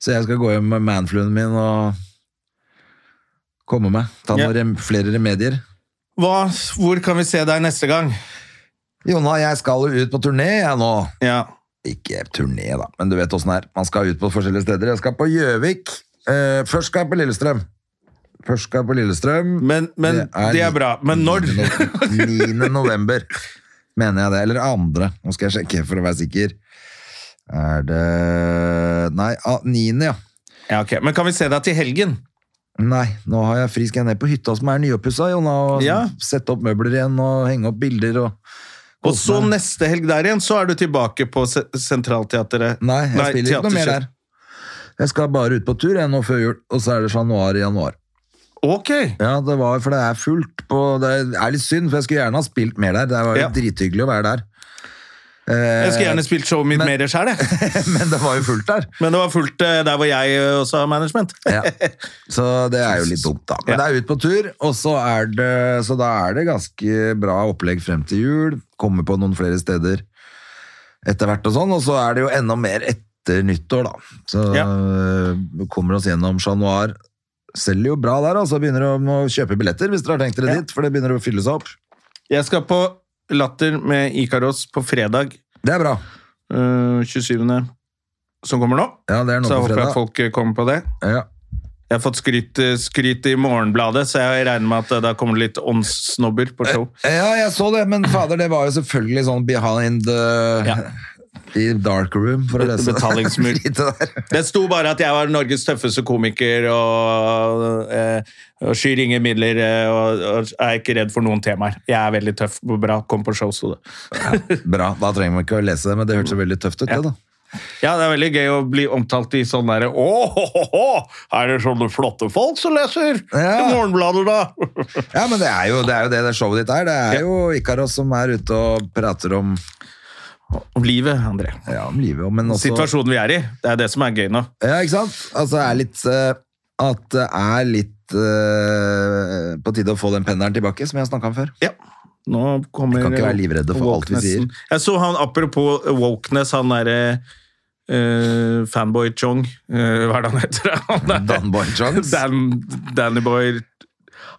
B: Så jeg skal gå hjem med manfluen min og komme meg. Ta
A: Ja.
B: noen rem flere remedier.
A: Hva, hvor kan vi se deg neste gang?
B: Jonna, jeg skal jo ut på turné jeg nå.
A: Ja.
B: ikke turné, da, men du vet åssen det er. Man skal ut på forskjellige steder. Jeg skal på Gjøvik. Eh, først skal jeg på Lillestrøm. Først skal jeg på Lillestrøm.
A: Men, men det, er bra. Men når?
B: 9. november, mener jeg det. Eller andre. Nå skal jeg sjekke for å være sikker. Er det Nei, ah, 9., ja.
A: Ja, ok. Men kan vi se deg til helgen?
B: Nei, nå har jeg fri, skal jeg ned på hytta som er nyoppussa, Jonna, og
A: Ja.
B: sette opp møbler igjen og henge opp bilder og
A: Og så neste helg der igjen, så er du tilbake på se- Sentralteatret.
B: Nei, jeg spiller ikke noe mer der.
A: Teaterscenen.
B: Jeg skal bare ut på tur jeg nå før jul, og så er det januar i januar.
A: Ok!
B: Ja, det var, for det er fullt på Det er litt synd, for jeg skulle gjerne ha spilt mer der. Det var jo
A: Ja.
B: drithyggelig å være der.
A: Jeg skulle gjerne spilt showet mitt
B: Eh, men-
A: mer sjøl, jeg.
B: Men det var jo fullt der.
A: Men det var fullt eh, der hvor jeg eh, også har management.
B: Ja. Så det er jo litt dumt, da. Men
A: Ja.
B: det er ut på tur, og så, er det, så da er det ganske bra opplegg frem til jul. Kommer på noen flere steder etter hvert og sånn, og så er det jo enda mer etter nyttår, da. Så
A: Ja.
B: øh, kommer oss gjennom januar. Selger jo bra der, altså. Begynner å må kjøpe billetter hvis dere har tenkt dere dit, for det begynner å fylle seg opp.
A: Jeg skal på Latter med Ikaros på fredag
B: Det er bra.
A: eh, 27. som kommer nå.
B: Ja, det er noe
A: Så jeg
B: på
A: håper at
B: fredag.
A: folk eh, kommer på det.
B: Ja.
A: Jeg har fått skryt, eh, skryt i Morgenbladet, så jeg regner med at eh, da kommer det litt åndssnobber på show.
B: ja, jeg så det, men fader, det var jo selvfølgelig sånn behind the I dark room, for å lese
A: Betalingsmur.
B: lite der.
A: Det sto bare at jeg var Norges tøffeste komiker og, eh, og skyr ingen midler eh, og, og er ikke redd for noen temaer. Jeg er veldig tøff og bra. Kom på show, sto det.
B: Bra, da trenger man ikke å lese det, men det hørtes jo veldig tøft ut. Det, da.
A: Ja, det er veldig gøy å bli omtalt i sånn derre Å, ho, ho, ho, er det sånne flotte folk som leser
B: Ja.
A: Morgenbladet, da?
B: Ja, men det er jo det, er jo det, det showet ditt er. Det er jo Ikaros som er ute og prater om,
A: Om livet, André.
B: ja, om livet, og- men også
A: Situasjonen vi er i. Det er det som er gøy nå.
B: Ja, ikke sant? Altså, er litt, eh, at det er litt eh, på tide å få den pendelen tilbake, som jeg snakka om før.
A: Ja. Nå kommer
B: Vi kan ikke være livredde for alt vi
A: wokenessen. Jeg så han, apropos wokeness, han derre eh, fanboy Chong eh, Hva er det han heter? Han er,
B: Dan Boy Jones.
A: Dan, Danny Boy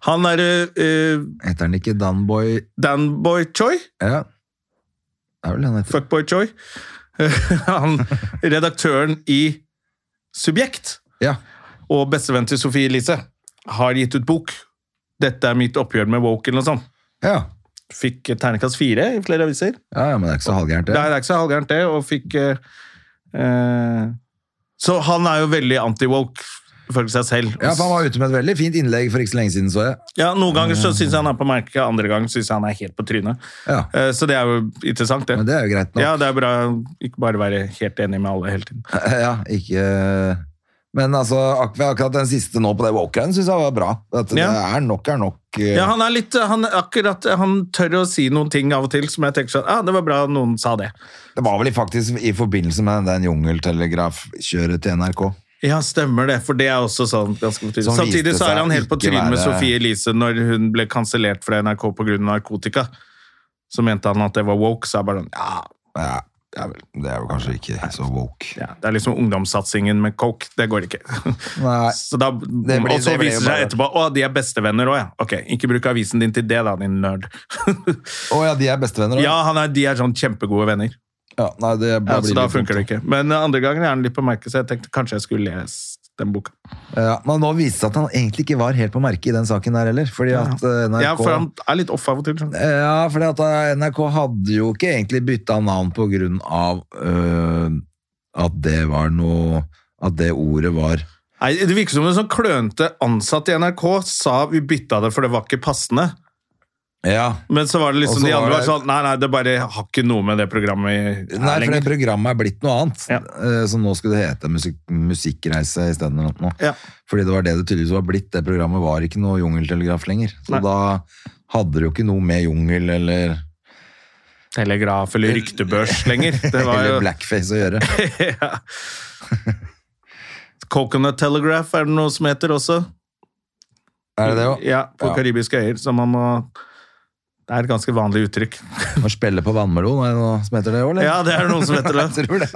A: Han er eh,
B: Heter han ikke Danboy
A: Dan Boy Choi?
B: Ja. Det er vel han heter.
A: Fuckboy Choi? Eh, han, redaktøren i Subjekt
B: Ja.
A: og bestevenn til Sofie Elise har gitt ut bok. 'Dette er mitt oppgjør med woke' eller noe sånt.
B: Ja.
A: Fikk terningkast fire i flere aviser.
B: Ja, ja, men det er ikke så halvgærent, det.
A: Nei, det er ikke så halvgærent det, og fikk eh, eh, Så han er jo veldig anti-woke, ifølge seg selv.
B: Ja, for Han var Mm. ute med et veldig fint innlegg for ikke så lenge siden, så jeg.
A: Ja, Noen ganger så syns jeg han er på merket, andre ganger syns jeg han er helt på trynet.
B: Ja.
A: Eh, så det er jo interessant, det.
B: Men det er jo greit nok.
A: Ja, det er bra å ikke bare være helt enig med alle hele tiden.
B: Ja, ikke eh, Men altså, ak akkurat den siste nå på det walkeren syns jeg var bra. At
A: Ja.
B: Det er nok er nok. eh,
A: Ja, han er litt han, er akkurat, eh, han tør å si noen ting av og til som jeg tenker sånn ah, Det var bra noen sa det.
B: Det var vel i- faktisk i forbindelse med den jungeltelegrafkjøret til NRK.
A: Ja, stemmer det. For det er også sånn ganske betydelig.
B: Som viste
A: Samtidig så er
B: seg
A: han helt på
B: ikke
A: trynet med
B: være-
A: Sofie Elise når hun ble kansellert fra NRK pga. narkotika. Så mente han at det var woke, så er jeg bare sånn ja,
B: Ja, det er vel, det er vel kanskje ikke så woke.
A: ja, det er liksom ungdomssatsingen med coke. Det går ikke.
B: Nei.
A: Så da,
B: blir-
A: og så
B: det blir
A: viser det seg
B: bare-
A: etterpå å, de er bestevenner òg, ja. Ok, ikke bruk avisen din til det, da, din nerd.
B: Å ja, de er bestevenner? da?
A: ja, han er, de er sånn kjempegode venner.
B: Ja, nei, det
A: Ja, så da funker det ikke. Men eh, andre gangen er han litt på merket, så jeg tenkte kanskje jeg skulle lese den boka.
B: Ja, men nå viste det seg at han egentlig ikke var helt på merket i den saken der heller. Fordi at eh, NRK
A: Ja, for han er litt off av og til. Sånn.
B: Ja, fordi at eh, NRK hadde jo ikke egentlig bytta navn på grunn av eh, at det var noe At det ordet var
A: Nei, Det virker som en sånn klønete ansatt i NRK sa vi bytta det, for det var ikke passende.
B: Ja.
A: Men så var
B: Og
A: det liksom
B: så
A: de andre
B: var
A: var
B: det-
A: sånn Nei, nei, det bare har ikke noe med det programmet
B: Nei,
A: her
B: for det
A: lenger.
B: programmet er blitt noe annet.
A: Ja.
B: eh, Så nå skulle det hete musik Musikkreise isteden. eller noe.
A: Ja.
B: Fordi det var det det tydeligvis var blitt. Det programmet var ikke noe jungeltelegraf lenger. Så
A: Nei.
B: da hadde det jo ikke noe med jungel eller,
A: Telegraf eller ryktebørs lenger. Det var
B: eller
A: jo
B: blackface å gjøre.
A: ja. Coconut Telegraph er det noe som heter også.
B: Er det det òg?
A: Ja, på
B: Ja.
A: karibiske øyer. Så man må Det er et ganske vanlig uttrykk.
B: Å spille på vannmelon, er det noe som heter det òg,
A: Ja, det er noen som heter det.
B: Jeg tror det.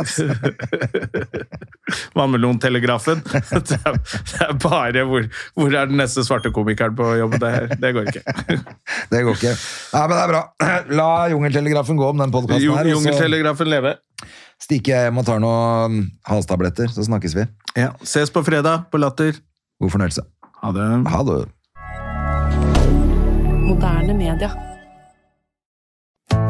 B: Altså.
A: Vannmelontelegrafen. Det er, det er bare hvor, hvor er den neste svarte komikeren på jobb? Det, her- det går ikke.
B: Det går ikke. Nei, men det er bra. La jungeltelegrafen gå om den podkasten her, og så
A: Jungeltelegrafen leve.
B: stikker jeg hjem og tar noen halstabletter, så snakkes vi.
A: Ja. Ses på fredag på Latter.
B: God fornøyelse.
A: Ha det.
B: Ha det.
C: Moderne media.